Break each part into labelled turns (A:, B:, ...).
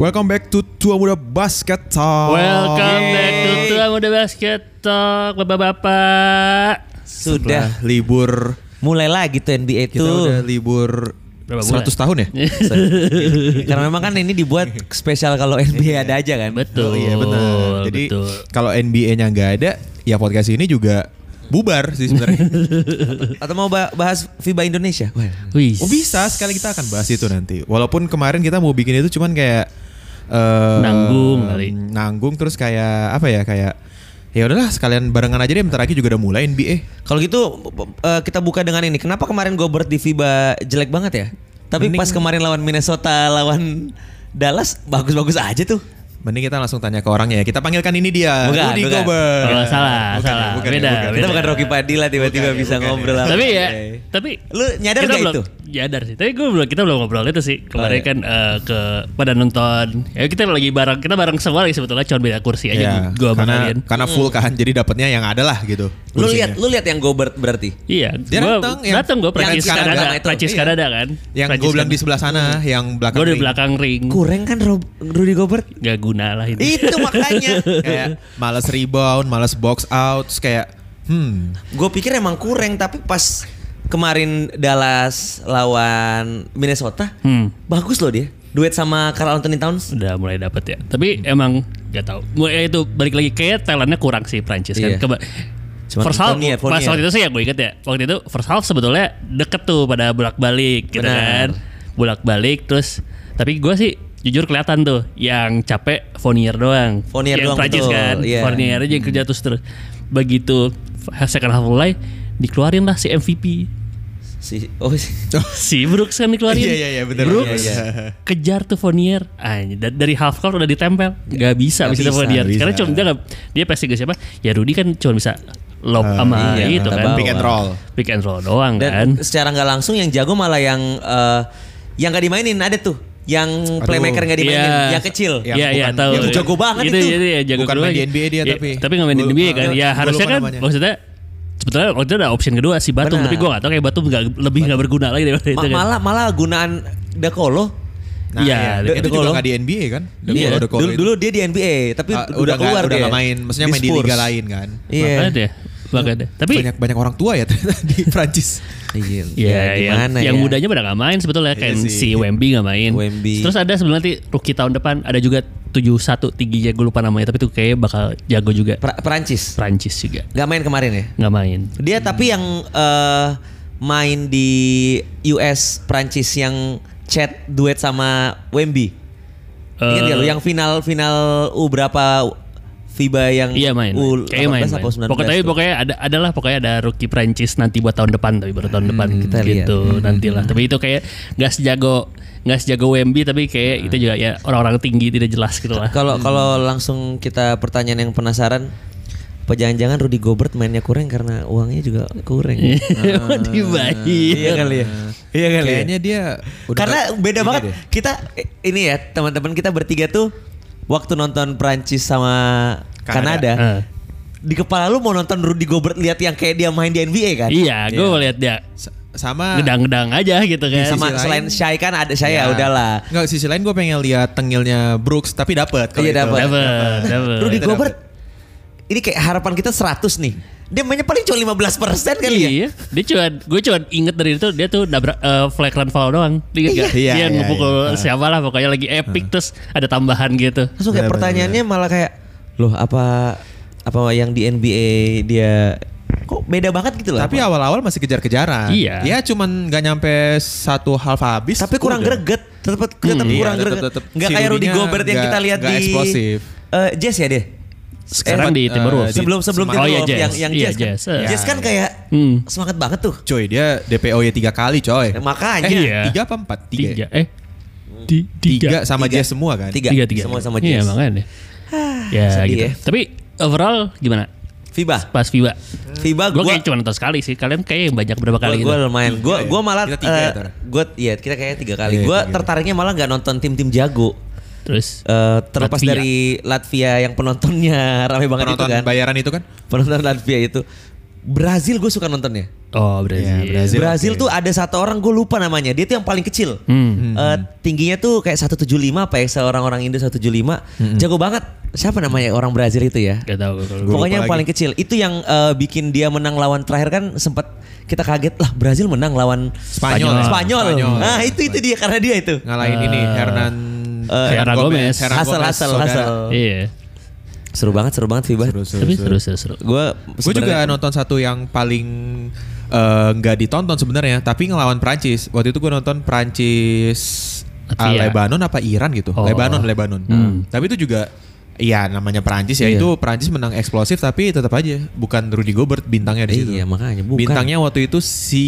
A: Welcome back to Tua Muda Basket Talk.
B: Welcome back to Tua Muda Basket Talk, bapak-bapak.
A: Setelah
C: Sudah
A: libur
C: mulai gitu lagi tuh NBA
A: kita udah
C: tuh.
A: libur
B: Berapa
A: 100
B: bulan? Iya.
A: tahun ya?
C: Karena memang kan ini dibuat spesial kalau NBA ada aja kan.
B: Betul.
A: iya benar. Jadi
B: betul.
A: kalau NBA-nya nggak ada, ya podcast ini juga bubar sih sebenarnya.
C: Atau mau ba- bahas FIBA Indonesia? Wah.
B: Wih.
A: oh bisa sekali kita akan bahas itu nanti. Walaupun kemarin kita mau bikin itu cuman kayak eh,
B: Nanggung kali.
A: Nanggung terus kayak apa ya kayak ya udahlah sekalian barengan aja deh bentar lagi juga udah mulai NBA.
C: Kalau gitu eh, kita buka dengan ini. Kenapa kemarin Gobert di FIBA jelek banget ya? Tapi
A: Mending-
C: pas kemarin lawan Minnesota, lawan Dallas bagus-bagus aja tuh.
A: Mending kita langsung tanya ke orangnya ya. Kita panggilkan ini dia.
C: Bukan,
A: Rudy
C: bukan.
A: Gobert.
B: Oh, salah,
A: Bukan, ya,
B: salah.
A: bukan, bukan.
B: Beda,
C: Kita
B: beda.
C: Iya, bukan iya, Rocky Padilla tiba-tiba bisa ngobrol. sama
B: Tapi ya,
A: Iya.
C: dia.
B: tapi
C: Lu nyadar
B: kita
C: nggak
B: belum-
C: itu?
B: Nyadar sih. Tapi gue belum kita belum ngobrol itu sih. Kemarin
C: Oh, iya.
B: kan eh, ke pada nonton. Ya kita lagi bareng, kita bareng semua lagi sebetulnya cuma beda kursi aja
A: Iya,
B: gua sama
A: karena
B: kalian.
A: karena full kan jadi dapatnya yang ada lah gitu.
C: Lu
A: kursinya.
C: lihat, lu lihat yang Gobert berarti.
B: Iya,
A: Dia
B: gua
A: datang yang-
B: datang gua
A: yang
B: Prancis
A: Kanada
B: Kanada,
C: itu.
B: Prancis
A: Iya.
B: Kanada kan.
A: yang
B: Prancis
A: gue bilang di
B: Kanada.
A: sebelah sana,
C: Hmm.
A: yang belakang.
B: Gua di
A: ring.
B: belakang ring.
C: Kurang kan Rob, Rudy Gobert?
B: Gak guna lah ini.
C: Itu makanya.
A: kayak males rebound, males box out, terus kayak hmm.
C: Gue pikir emang kurang tapi pas kemarin Dallas lawan Minnesota
B: Hmm.
C: bagus loh dia. Duet sama Carl Anthony Towns.
B: udah mulai dapat ya. Tapi emang gak tahu. Gue ya itu balik lagi kayak talentnya kurang sih Prancis kan.
C: Iya.
B: Keba-
C: Cuma
B: first half
C: Fournier,
B: pas
C: Fournier.
B: waktu itu sih ya gue inget ya. Waktu itu first half sebetulnya deket tuh pada bolak balik gitu
C: Benar.
B: kan. Bolak balik terus tapi gue sih jujur kelihatan tuh yang capek Fournier doang.
C: Fournier
B: yang
C: doang,
B: Prancis
C: betul.
B: kan.
C: Iya.
B: Fournier aja yang kerja terus terus. Begitu second half mulai dikeluarin lah si MVP.
C: Si oh si-
B: Si Brooks kan dikeluarin.
A: Iya, iya, iya, bener,
B: Brooks
A: iya,
B: kejar tuh Fournier. Anjir, da- dari half court udah ditempel. Gak bisa
A: Nggak
B: abis itu
A: bisa,
B: Fournier.
A: nggak
B: Karena
A: bisa.
B: cuma dia nggak- dia passing ke siapa? Ya Rudy kan cuma bisa lob
A: Eh,
B: sama
C: iya,
B: itu
C: ke
B: kan.
A: pick and roll.
C: bawah.
B: Pick and roll doang kan.
C: dan secara nggak langsung yang jago malah yang eh, yang gak dimainin ada tuh yang
A: Aduh.
C: playmaker gak dimainin
B: Iya.
C: yang kecil
A: Yang
B: Iya, iya,
A: bukan-
B: tahu.
A: yang
C: jago banget
B: itu.
C: itu.
B: ya, jago
A: Bukan
B: kedua
A: main di
B: lagi.
A: NBA dia,
B: Ya,
A: tapi.
B: tapi nggak main di
A: Gua
B: NBA
A: lupa.
B: kan.
A: Gua
B: Ya
A: lupa
B: harusnya kan
A: namanya.
B: maksudnya sebetulnya waktu itu ada option kedua si Batum
C: Benar.
B: tapi gue gak tau kayak Batum nggak lebih nggak berguna lagi daripada
C: Ma-
B: itu kan.
C: malah malah gunaan Dakolo
B: Iya,
A: ya,
B: De-
A: itu
C: Dekolo.
A: juga gak di NBA kan?
C: Iya.
A: Dekolo, Dekolo
C: dulu,
A: itu.
C: dulu dia di NBA tapi
A: Ah, udah gak,
C: keluar
A: udah
C: dia.
A: nggak main, maksudnya main di
C: Spurs.
A: liga lain kan.
C: iya
B: Makanya deh, makanya. Tapi
A: banyak banyak orang tua ya ternyata di Prancis.
C: Iya,
B: Ya, yang,
C: gimana
B: yang mudanya pada nggak main sebetulnya kayak
A: Iya
B: si
A: sih.
B: Wemby nggak main.
C: Wemby.
B: Terus ada sebelum nanti rookie tahun depan ada juga 71 tingginya gue lupa namanya tapi tuh kayaknya bakal jago juga.
C: Pra- Perancis
B: Prancis juga
C: gak main kemarin ya
B: nggak main.
C: Dia tapi yang eh, main di US Prancis yang chat duet sama Wemby. Ingat
B: Eh,
C: gak lu yang final final U berapa FIBA yang
B: Iya main.
C: U
B: Kayaknya main.
C: 18 apa
B: main.
C: 19
B: Pokoknya tapi
C: tuh?
B: pokoknya ada adalah pokoknya ada rookie Prancis nanti buat tahun depan tapi baru tahun depan
C: Hmm, kita lihat. hmm.
B: gitu nantilah. Tapi itu kayak nggak sejago nggak sejago Wemby tapi
C: Hmm.
B: kayak itu juga ya orang-orang tinggi tidak jelas gitu lah.
C: Kalau kalau langsung kita pertanyaan yang penasaran apa jangan-jangan Rudy Gobert mainnya kurang karena uangnya juga kurang.
B: Iya.
C: Hmm.
B: Dibayar.
C: iya kali ya.
B: Nah,
C: Iya kali ya.
A: Kayaknya dia
C: Karena beda
A: ini
C: banget.
A: deh.
C: Kita eh, ini ya teman-teman kita bertiga tuh waktu nonton Prancis sama
A: Kanada.
C: Kanada.
B: Eh.
C: Di kepala lu mau nonton Rudy Gobert lihat yang kayak dia main di NBA kan?
B: Iya, gue lihat dia
A: S- sama
B: gedang-gedang aja gitu kan.
C: Sama
A: sisi
C: selain
A: lain-
C: Shai kan ada Shai
B: Iya.
C: ya udahlah.
A: Enggak sisi lain gue pengen lihat tengilnya Brooks tapi dapat kalau
C: Iya,
A: itu.
C: dapet.
B: Dapat, dapat.
C: Rudy
A: Kita
C: Gobert ini kayak harapan kita 100 nih. Dia mainnya paling cuma 15% kali ya.
B: Iya, dia cuma gue cuma inget dari itu dia tuh nabrak eh, flagrant foul doang. Ingat gak?
A: Iya,
B: dia
A: iya,
B: ngepukul
A: iya.
B: siapa lah pokoknya lagi epic terus ada tambahan gitu.
C: Langsung kayak
A: Benar,
C: pertanyaannya malah kayak loh apa apa yang di NBA dia kok beda banget gitu loh.
A: Tapi
C: apa?
A: awal-awal masih kejar-kejaran.
B: Iya.
A: Ya cuman nggak nyampe satu half habis.
C: Tapi kurang
A: udah.
C: greget,
B: Hmm.
C: tetap tetap
A: Iya,
C: kurang
A: tetep-
C: greget.
A: tetep
C: Nggak
A: si
C: kayak Rudy
A: Rudinya
C: Gobert yang
A: nggak-
C: kita lihat
A: nggak
C: di
A: eksplosif.
C: eh, Jazz ya dia.
B: Sekarang
C: Eh,
B: di
A: eh,
B: Timberwolves.
A: di-
C: sebelum sebelum
B: Oh,
C: Timberwolves
B: iya, Jazz.
C: yang yang
B: Iya,
C: Jazz, kan.
B: Jazz, eh.
C: Jazz kan kayak
B: Hmm.
C: semangat banget tuh.
A: Coy dia DPO nya tiga kali coy.
C: Ya, makanya.
A: eh,
B: Iya.
A: tiga apa empat? Tiga.
B: tiga. Eh, di-
A: Tiga
B: tiga.
A: sama
C: Tiga.
A: dia semua kan.
C: Tiga.
B: Tiga, tiga.
C: Semua sama
B: Iya
C: Jazz.
B: makanya. ya
C: sedih
B: gitu.
C: ya.
B: Tapi overall gimana?
C: FIBA.
A: Eh.
B: Pas FIBA.
C: FIBA
B: Gue
C: Ah, gua
B: kayak cuma nonton sekali sih. Kalian kayak banyak berapa kali
C: gue
B: gitu.
C: lumayan gue
A: ya?
C: gue malah
A: Kita tiga ya, Tar?
C: gue iya kita kayaknya tiga kali
A: Iya,
C: gue
A: tiga.
C: tertariknya malah nggak nonton tim-tim jago
B: Terus
C: Eh, terlepas
B: Latvia.
C: dari Latvia yang penontonnya rame banget
A: Penonton
C: itu kan
A: bayaran itu kan.
C: penonton Latvia itu Brazil gue suka nontonnya
B: Oh Brazil.
A: Iya, Brazil.
C: Brazil
A: oke.
C: tuh ada satu orang gue lupa namanya. Dia tuh yang paling kecil.
B: Hmm.
C: Eh, tingginya tuh kayak 175 apa ya seorang-orang Indo 175.
A: Hmm.
C: Jago banget. Siapa namanya orang Brazil itu ya?
B: Gak tau. kalau-
A: Gua lupa
C: Pokoknya yang
A: lagi.
C: paling kecil itu yang eh, bikin dia menang lawan terakhir kan sempat kita kaget lah Brazil menang lawan
A: Spanyol. ya?
C: Spanyol.
A: Spanyol.
C: Nah, itu itu dia karena dia itu.
A: Ngalahin ini Hernan
B: Eh.
C: Eh,
B: Hernan Gomez.
A: Hernan
C: Hasil
A: Gomez,
C: hasil
A: saudara.
C: hasil.
B: Iya.
C: Seru banget, seru banget FIBA.
A: Seru, seru,
B: Tapi
A: seru.
B: seru seru seru.
C: Gue
A: Gue juga nonton satu yang paling eh, nggak ditonton sebenarnya, tapi ngelawan Prancis. Waktu itu gue nonton Prancis ah,
B: Latvia.
A: Lebanon apa Iran gitu.
B: Oh. Hmm.
A: Lebanon, Lebanon. Tapi itu juga Iya namanya Prancis ya
C: Iya.
A: itu Prancis menang eksplosif tapi tetap aja bukan Rudy Gobert bintangnya di situ.
C: Iya, makanya bukan.
A: Bintangnya waktu itu si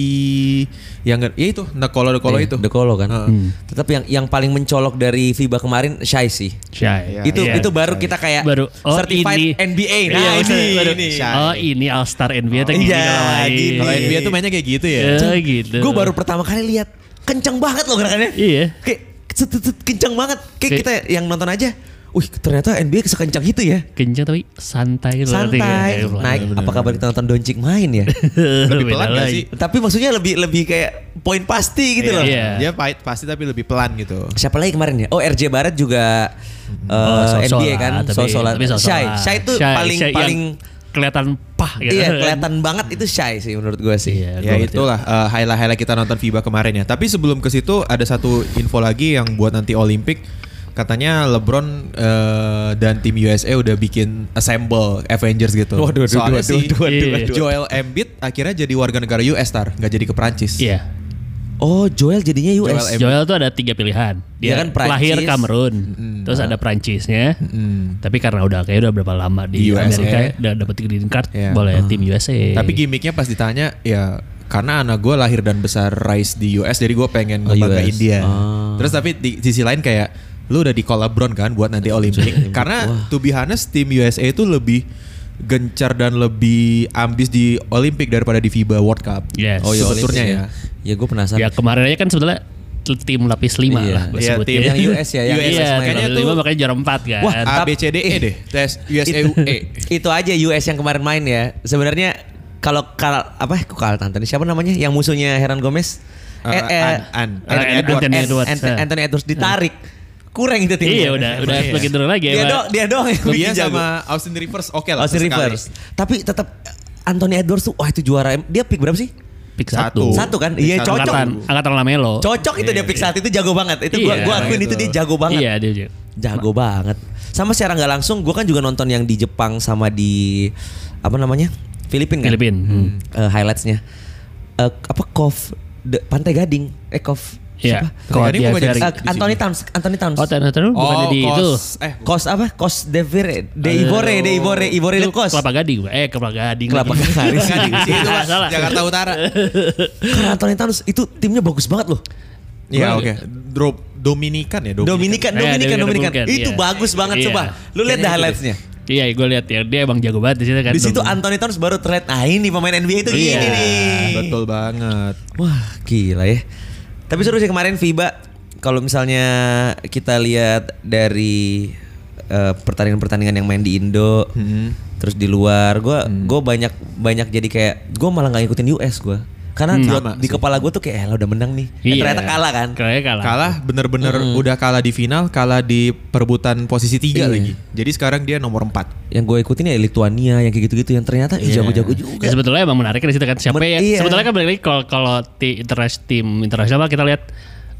A: yang nge- ya itu Nekolo Dekolo itu.
C: The Colo kan.
A: Heeh.
B: Hmm.
C: Tetap yang yang paling mencolok dari FIBA kemarin Shai sih.
B: Shy.
A: Iya,
C: itu
B: Iya.
C: itu baru kita kayak
B: baru oh ini
C: certified NBA. Nah,
B: Iya,
C: ini,
B: maksudnya baru,
C: ini.
A: Shy.
B: Oh ini All Star NBA tuh
C: Oh,
B: gini
C: iya,
B: namanya.
C: gini.
A: Kalau NBA tuh mainnya kayak gitu ya.
B: Ya, gitu.
C: Gue baru pertama kali lihat kenceng banget loh gerakannya.
B: Iya.
C: Kayak cet- cet- cet, kenceng banget. Kayak
B: Kayak-
C: kita yang nonton aja. Wih ternyata NBA sekencang itu ya.
B: kencang tapi santai loh nanti
C: Santai.
B: kayak-
C: Naik. Apa kabar kita nonton Doncic main ya?
A: Lebih
B: Beda
A: pelan gak
B: lagi.
A: sih?
C: Tapi maksudnya lebih lebih kayak poin pasti gitu
A: Iya.
C: loh.
B: Iya.
A: Dia pahit pasti tapi lebih pelan gitu.
C: Siapa lagi kemarin ya? Oh RJ Barrett juga
B: Oh,
C: eh,
B: so-so
C: NBA
B: lah,
C: kan,
B: tapi-
C: Sosola.
B: tapi so-so
C: Shy,
B: lah.
C: Shy itu
B: Shy,
C: paling
B: Shy yang
C: paling
B: kelihatan pah gitu.
C: iya kelihatan banget itu Shy sih menurut gue sih.
B: Iya,
A: Ya
B: gua
A: itulah eh, highlight-highlight kita nonton FIBA kemarin ya. Tapi sebelum ke situ ada satu info lagi yang buat nanti Olimpik. Katanya LeBron eh, dan tim USA udah bikin assemble Avengers gitu.
C: Waduh, waduh,
A: Soalnya
C: waduh,
A: si
C: waduh,
B: waduh, waduh.
A: Joel Embiid akhirnya jadi warga negara US tar, nggak jadi ke Prancis.
B: Iya.
C: Oh Joel jadinya US.
B: Joel eh, tuh ada tiga pilihan.
C: Iya
B: Dia
C: kan, Prancis. Hmm.
B: lahir Kamerun, terus ada Prancisnya.
A: Mm.
B: Tapi karena udah kayak udah berapa lama
A: Di
B: di,
A: USA.
B: Amerika udah dapet green card
A: Iya.
B: boleh
C: Hmm.
B: tim USA.
A: Tapi gimmicknya pas ditanya ya karena anak gue lahir dan besar rise di US jadi gue pengen
C: Oh,
A: ngebanggain
C: US.
A: dia.
C: Ah.
A: Terus tapi di sisi lain kayak lu udah di call LeBron kan buat
C: Iya,
A: nanti Olimpik. karena to be honest tim USA itu lebih gencar dan lebih ambis di Olimpik daripada di FIBA World Cup.
B: Yes.
A: Oh,
B: Oh,
A: iya,
B: iya,
A: sebetulnya ya.
C: Ya gue penasaran.
B: ya kemarin aja kan sebenarnya tim lapis 5
C: Iya.
B: lah gua
A: Iya,
B: sebutnya.
A: tim
C: yang US ya, yang
B: Iya,
A: US
B: tim
A: makanya
B: lapis
A: tuh-
B: lima, makanya juara 4 kan.
A: Wah,
C: ah,
A: A B C D E deh. Tes USA UE.
C: Itu aja US yang kemarin main ya. Sebenarnya kalau kal apa ya, kok kalah tante siapa namanya yang musuhnya Heran Gomez?
A: Eh, An- An- Anthony
C: Edwards.
B: Anthony
C: An-
B: Edwards,
C: Anthony-
B: eh.
C: Anthony Edwards ditarik. Kurang itu timnya.
B: Iya udah udah
A: Iya.
B: semakin turun lagi
C: ya. Dia
B: emang.
C: doang dia doang yang
A: Dia
C: bikin jago.
A: sama Austin Rivers oke lah.
C: Austin
A: sesekali.
C: Rivers. Tapi tetap Anthony Edwards tuh wah itu juara. Dia pick berapa sih?
B: Pick
A: Satu.
B: satu.
C: Satu kan?
A: Pick
C: Iya
A: satu.
C: cocok.
B: Angkatan angkatan Lamelo.
C: Cocok itu dia pick saat itu jago banget. Itu gua
B: Oh, Iya.
C: gua akuin itu dia jago banget.
B: Iya dia. dia.
C: Jago banget. Sama secara nggak langsung, gue kan juga nonton yang di Jepang sama di apa namanya Filipina. Kan?
B: Filipin. Hmm.
C: Eh, highlightsnya Eh, apa Kof de- Pantai Gading? Eh Kof
B: Iya.
C: siapa?
A: Kalau
B: Kalau
A: ini
B: dia
A: bukan jadi-
B: Ferry.
C: Eh, Anthony Towns. Anthony Towns.
B: Oh, ternyata terus bukan
A: Oh,
B: jadi itu.
A: Kos- eh
C: Kos apa? Kos Devire, De Ivore, De Ivore, Ivore
B: Itu
C: de Kos.
B: Eh, Kelapa Gading. Eh, Kelapa Gading.
C: Kelapa
B: lagi.
C: Gading.
A: Sih, itu, Mas.
B: Salah.
A: Iya, Jakarta Utara.
C: Karena Anthony Towns itu timnya bagus banget loh.
A: Iya oke. Drop Dominikan ya
C: Dominikan,
B: Eh,
C: Dominikan,
B: Dominikan,
C: Dominikan.
B: Dominikan,
C: Itu
B: iya.
C: bagus banget
B: Iya.
C: coba. Lu lihat deh highlightsnya.
B: Iya, gue lihat ya. Dia emang jago banget di situ kan.
C: Di situ
B: Dom-
C: Anthony Towns baru terlihat. Ah ini pemain NBA itu
B: Iya.
C: gini nih.
A: Betul banget.
C: Wah gila ya. Tapi seru sih kemarin FIBA. Kalau misalnya kita lihat dari eh, pertandingan-pertandingan yang main di Indo,
B: Mm-hmm.
C: terus di luar, gua
B: Mm.
C: gua banyak banyak jadi kayak gua malah nggak ngikutin US gua. Karena gua-
A: Sama
C: di kepala gua tuh kayak eh, lah udah menang nih.
B: Hmm,
C: Eh,
B: Iya.
C: ternyata kalah kan.
B: Kayaknya kalah. Hmm.
A: Kalah bener-bener udah kalah di final, kalah di perebutan posisi tiga
C: Iya.
A: lagi. Jadi sekarang dia nomor empat.
C: Yang gue ikutin ya Lituania yang kayak gitu-gitu yang ternyata ih, jago-jago juga.
B: Ya, sebetulnya emang menarik di situ kan siapa
C: Men-
B: ya?
C: iya.
B: Sebetulnya kan balik lagi kalau kalau ti- interest tim internasional kita lihat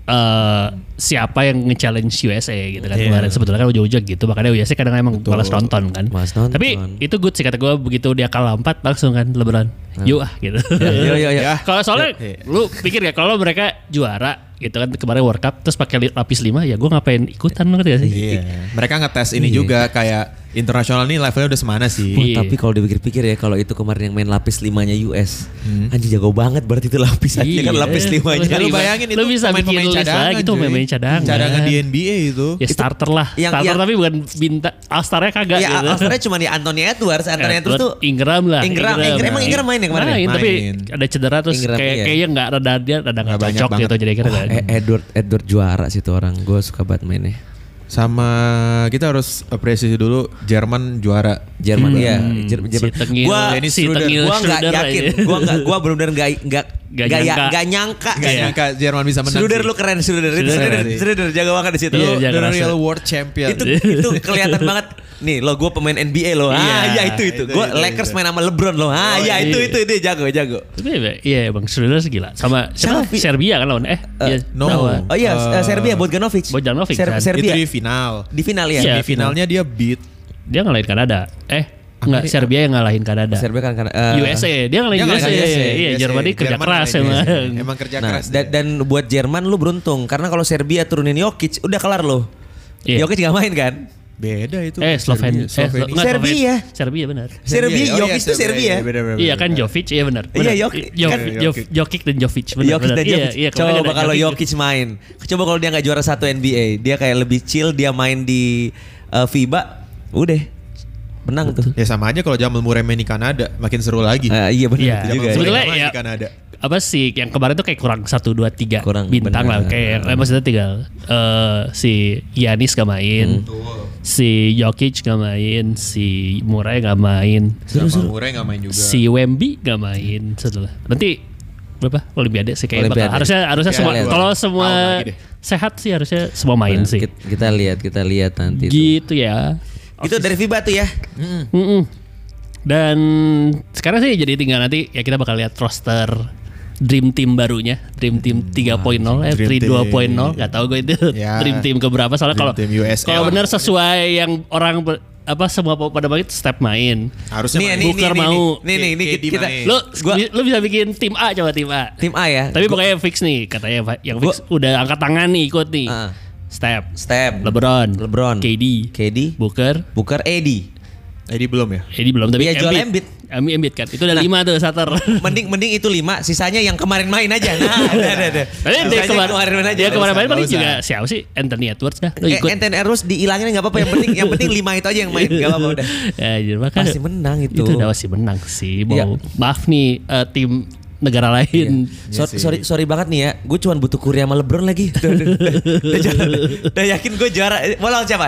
B: eh, siapa yang nge-challenge USA gitu kan
A: Iya.
B: kemarin sebetulnya kan ujung-ujung gitu makanya USA kadang emang malas nonton kan
C: Malas nonton.
B: tapi itu good sih kata gue begitu dia kalah 4 langsung kan LeBron yuk ah gitu
C: Nah. Iya, iya, iya.
B: kalau soalnya lu pikir ya kalau mereka juara gitu kan kemarin World Cup terus pakai li- lapis 5 ya gue ngapain ikutan ngerti gak
C: Iya.
B: sih
A: Mereka ngetes ini juga kayak internasional nih levelnya udah semana
C: Wah,
A: sih.
B: Iya.
C: tapi kalau dipikir-pikir ya kalau itu kemarin yang main lapis limanya US, anjing jago banget berarti itu lapisannya kan lapis limanya.
A: Ya,
B: Hmm. Iya.
A: lu bayangin itu
B: Lu bisa bikin list lagi tuh
A: cuy.
B: pemain-pemain cadangan.
A: Cadangan di NBA itu.
B: ya starter lah
C: yang-
B: starter
C: yang-
B: tapi bukan bintang all-starnya kagak
C: Ya,
B: gitu
C: asalnya cuma di Anthony Edwards, Anthony Edwards tuh
B: Eh, Ingram lah.
C: Ingram, Ingram, emang Ingram main ya kemarin? ya?
B: Main, tapi
A: Main.
B: ada cedera terus
C: Ingram,
B: kayak
C: iya.
B: kayaknya nggak rada dia rada nggak
A: Nggak banyak
B: cocok gitu
A: banget.
B: jadi kira
C: Eh, Edward Edward juara sih tuh orang. Gue suka banget mainnya.
A: Sama kita harus apresiasi dulu Jerman juara.
C: Jerman ya. Jer-
B: Hmm, Si
C: Jerman.
B: tengil,
C: gua
B: ini si
A: Schröder.
B: tengil
C: gua nggak
B: Schröder
C: yakin.
B: aja.
C: Gua nggak gua belum benar nggak nggak
B: Nggak
C: nggak ya-
B: nyangka.
C: nggak nyangka.
A: Gak nyangka Jerman bisa menang.
C: Schröder
A: sih.
C: lu keren Schröder. Itu
B: Schröder
C: Schröder,
A: sih.
C: Schröder jaga banget di situ.
B: Iya,
A: Lu
B: jangan
A: the
B: rasa.
A: real world champion.
C: itu itu kelihatan banget nih lo gue pemain NBA lo ah
B: Iya,
C: ya itu itu,
A: itu,
C: gue
A: itu,
C: Lakers main sama LeBron lo ah ya itu
B: iya.
C: itu itu jago jago
B: Tapi ya, iya bang Schröder gila. Sama siapa?
C: Siapa?
B: Serbia kan lawan eh iya,
A: no.
B: lawan.
C: oh iya
A: Eh,
C: eh, Serbia Bogdanovic
B: Bogdanovic,
C: Ser-
B: kan?
A: Itu
C: Serbia ya?
A: di final.
C: di final ya
B: Iya.
A: Di finalnya dia beat
B: Dia ngalahin Kanada. Eh enggak
A: Amerika.
B: Serbia yang ngalahin Kanada.
C: Serbia kan kan
B: USA dia ngalahin
A: Dia
B: USA.
A: ngalahin USA.
B: Iya
A: USA.
B: Jerman ini kerja
A: Jerman
B: keras
A: ngalahin
B: emang.
A: USA. ya, iya Emang kerja
C: nah
A: keras.
C: da-
A: dia.
C: dan buat Jerman lu beruntung karena kalau Serbia turunin Jokic udah kelar lo
B: Iya.
C: Jokic gak main kan
A: beda itu.
B: Eh
A: Serbia-
B: Slovenia. Eh,
A: Slovenia.
B: enggak,
C: Serbia.
B: Serbia benar.
C: Serbia
A: Oh, iya,
C: Jokic tuh Serbia
A: Iya, beda-beda,
B: Iya kan
A: beda-beda.
B: Jovic iya benar.
C: Iya,
B: Benar.
C: Jokic.
B: Jo-
C: Kan
B: Jo-
A: Jokic.
B: Jokic dan Jovic benar.
C: Jokic dan
B: benar.
C: Jokic.
B: Iya, iya, kemarin
C: Coba
B: ada
C: kalau Jokic main. Coba kalau dia nggak juara satu NBA, dia kayak lebih chill, dia main di eh, FIBA, udah menang tuh.
A: Ya sama aja kalau Jamal Murray main di Kanada makin seru lagi.
C: Eh, iya benar
B: Iya.
C: itu
A: Jamal
C: juga. ya.
A: Murray
B: Sebetulnya
A: main
B: ya-
A: di Kanada.
B: apa sih yang kemarin tuh kayak kurang satu dua tiga
C: Kurang,
B: bintang lah
C: benar.
B: kayak eh, maksudnya tinggal eh, si Yanis gak main
C: Hmm.
B: si Jokic gak main si Murray gak main
A: Jamal Murray nggak main juga.
B: si Wemby gak main setelah nanti berapa Olimpiade sih kayaknya bakal
C: Olimpiade.
B: harusnya harusnya
A: Ya,
B: semua
A: lihat.
B: kalau semua
A: Tahun lagi deh.
B: sehat sih harusnya semua main
C: Nah,
B: sih
C: kit- Kita lihat, kita lihat nanti. tuh.
B: gitu ya
C: Itu dari FIBA tuh ya.
B: Mm-mm. dan sekarang sih jadi tinggal nanti ya kita bakal lihat roster Dream Team barunya Dream Team
C: Hmm,
B: 3.0 eh
A: Dream
B: 32.0 nggak tahu gue itu
A: Ya.
B: Dream Team keberapa soalnya
A: Dream
B: kalau
A: Team USA
B: kalau
A: lah.
B: benar sesuai yang orang ber- apa semua pada banget step main
A: Harusnya
C: Nih,
A: main.
C: nih,
B: Booker
C: nih, nih,
B: mau.
C: Nih, nih, nih,
A: KD
C: kita
A: main.
B: lu
C: Eh, Gua-
B: lu bisa bikin tim A coba tim A
C: tim A ya.
B: tapi
C: Gua-
B: pokoknya fix nih katanya Pak. yang fix udah angkat tangan nih ikut nih
C: Ah.
B: step
C: step
B: LeBron
C: LeBron.
B: KD
C: KD
B: Booker
C: Booker AD.
A: Jadi belum ya?
B: Jadi belum tapi
C: Ya, jual
B: Embiid. Embiid Embiid kan. Itu udah
C: Nah.
B: lima tuh starter.
C: Mending mending itu lima, sisanya yang kemarin main aja. Nah, ada ada ada.
B: Tapi Eh,
C: Sisanya
B: Iya, dia kemarin
C: kemarin main aja.
B: Dia kemarin main
A: Nggak
B: paling
A: usah.
B: juga siapa sih Anthony Edwards dah. Lu
C: Eh,
B: ikut.
C: Enten Erus dihilangin nggak apa-apa yang penting yang penting lima itu aja yang main nggak apa-apa udah.
B: Ya, jadi makanya
C: Masih menang itu.
B: Itu udah masih menang sih. Mau
C: Iya.
B: maaf nih eh, tim negara lain.
A: Iya.
C: So- sorry sorry banget nih ya, gue cuma butuh Curry sama LeBron lagi. Udah, udah, udah, udah jalan. Udah yakin gue juara. Mau lawan siapa?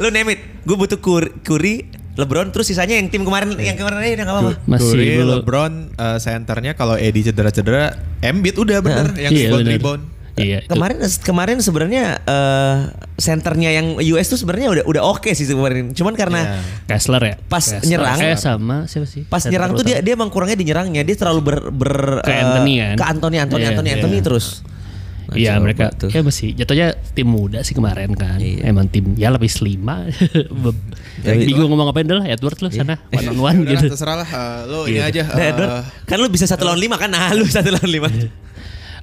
C: Lu name it. Gue butuh Curry, Curry, LeBron, terus sisanya yang tim kemarin yang kemarin aja udah nggak apa-apa.
B: Masih
A: Curry,
B: dulu.
A: LeBron, eh, senternya kalau Eddie cedera-cedera, Embiid udah bener yang
B: Iya,
A: rebound
B: bener.
A: rebound.
B: Iya. itu.
C: Kemarin kemarin sebenarnya eh senternya yang US tuh sebenarnya udah udah oke sih kemarin. Cuman
A: Nah.
C: karena
B: Kessler ya.
C: pas
B: Kessler.
C: nyerang-
B: Eh sama siapa sih?
C: pas
B: Center
C: nyerang tuh dia
B: utama.
C: dia emang kurangnya di nyerangnya. Dia terlalu ber, ber
B: Ke
C: eh,
B: Anthony kan?
C: Ke Anthony Anthony
B: Iya.
C: Anthony
B: Iya.
C: Anthony terus. Nah,
B: Iya
C: coba
B: mereka
C: tuh.
B: ya masih jatuhnya tim muda sih kemarin kan.
C: Iya.
B: Emang tim ya lebih lima. Be- Bingung ngomong ngapain dah lah Edward
C: Iya.
B: lu sana one on one
A: Udah
B: gitu.
A: Ya terserah lah, eh, lo ini
B: Iya.
A: aja.
C: Nah,
A: eh,
C: Edward, kan lu bisa satu lawan lima kan? Nah, lu satu lawan lima.
B: Iya.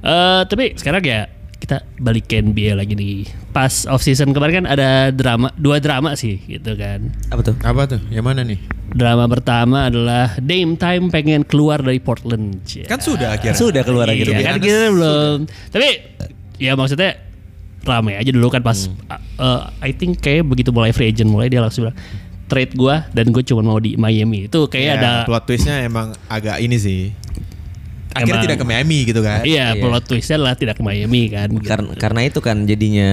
B: Eh tapi sekarang ya kita balik ke NBA lagi nih. Pas off season kemarin kan ada drama, dua drama sih gitu kan.
C: Apa tuh?
A: apa tuh? Yang mana nih?
B: Drama pertama adalah Dame Time pengen keluar dari Portland. Ya.
A: Kan gitu, sudah akhirnya.
C: Sudah keluar
B: Iya,
C: akhirnya.
B: kan kita belum. Tapi ya maksudnya rame aja dulu kan pas
A: Hmm.
B: uh, I think kayak begitu mulai free agent mulai dia langsung bilang trade gua dan gue cuma mau di Miami. Itu kayak
A: Ya,
B: ada
A: plot twistnya emang agak ini sih. Akhirnya
B: Emang-
A: tidak ke Miami gitu kan?
B: Iya, plot twistnya lah tidak ke Miami kan.
C: Karena karena itu kan jadinya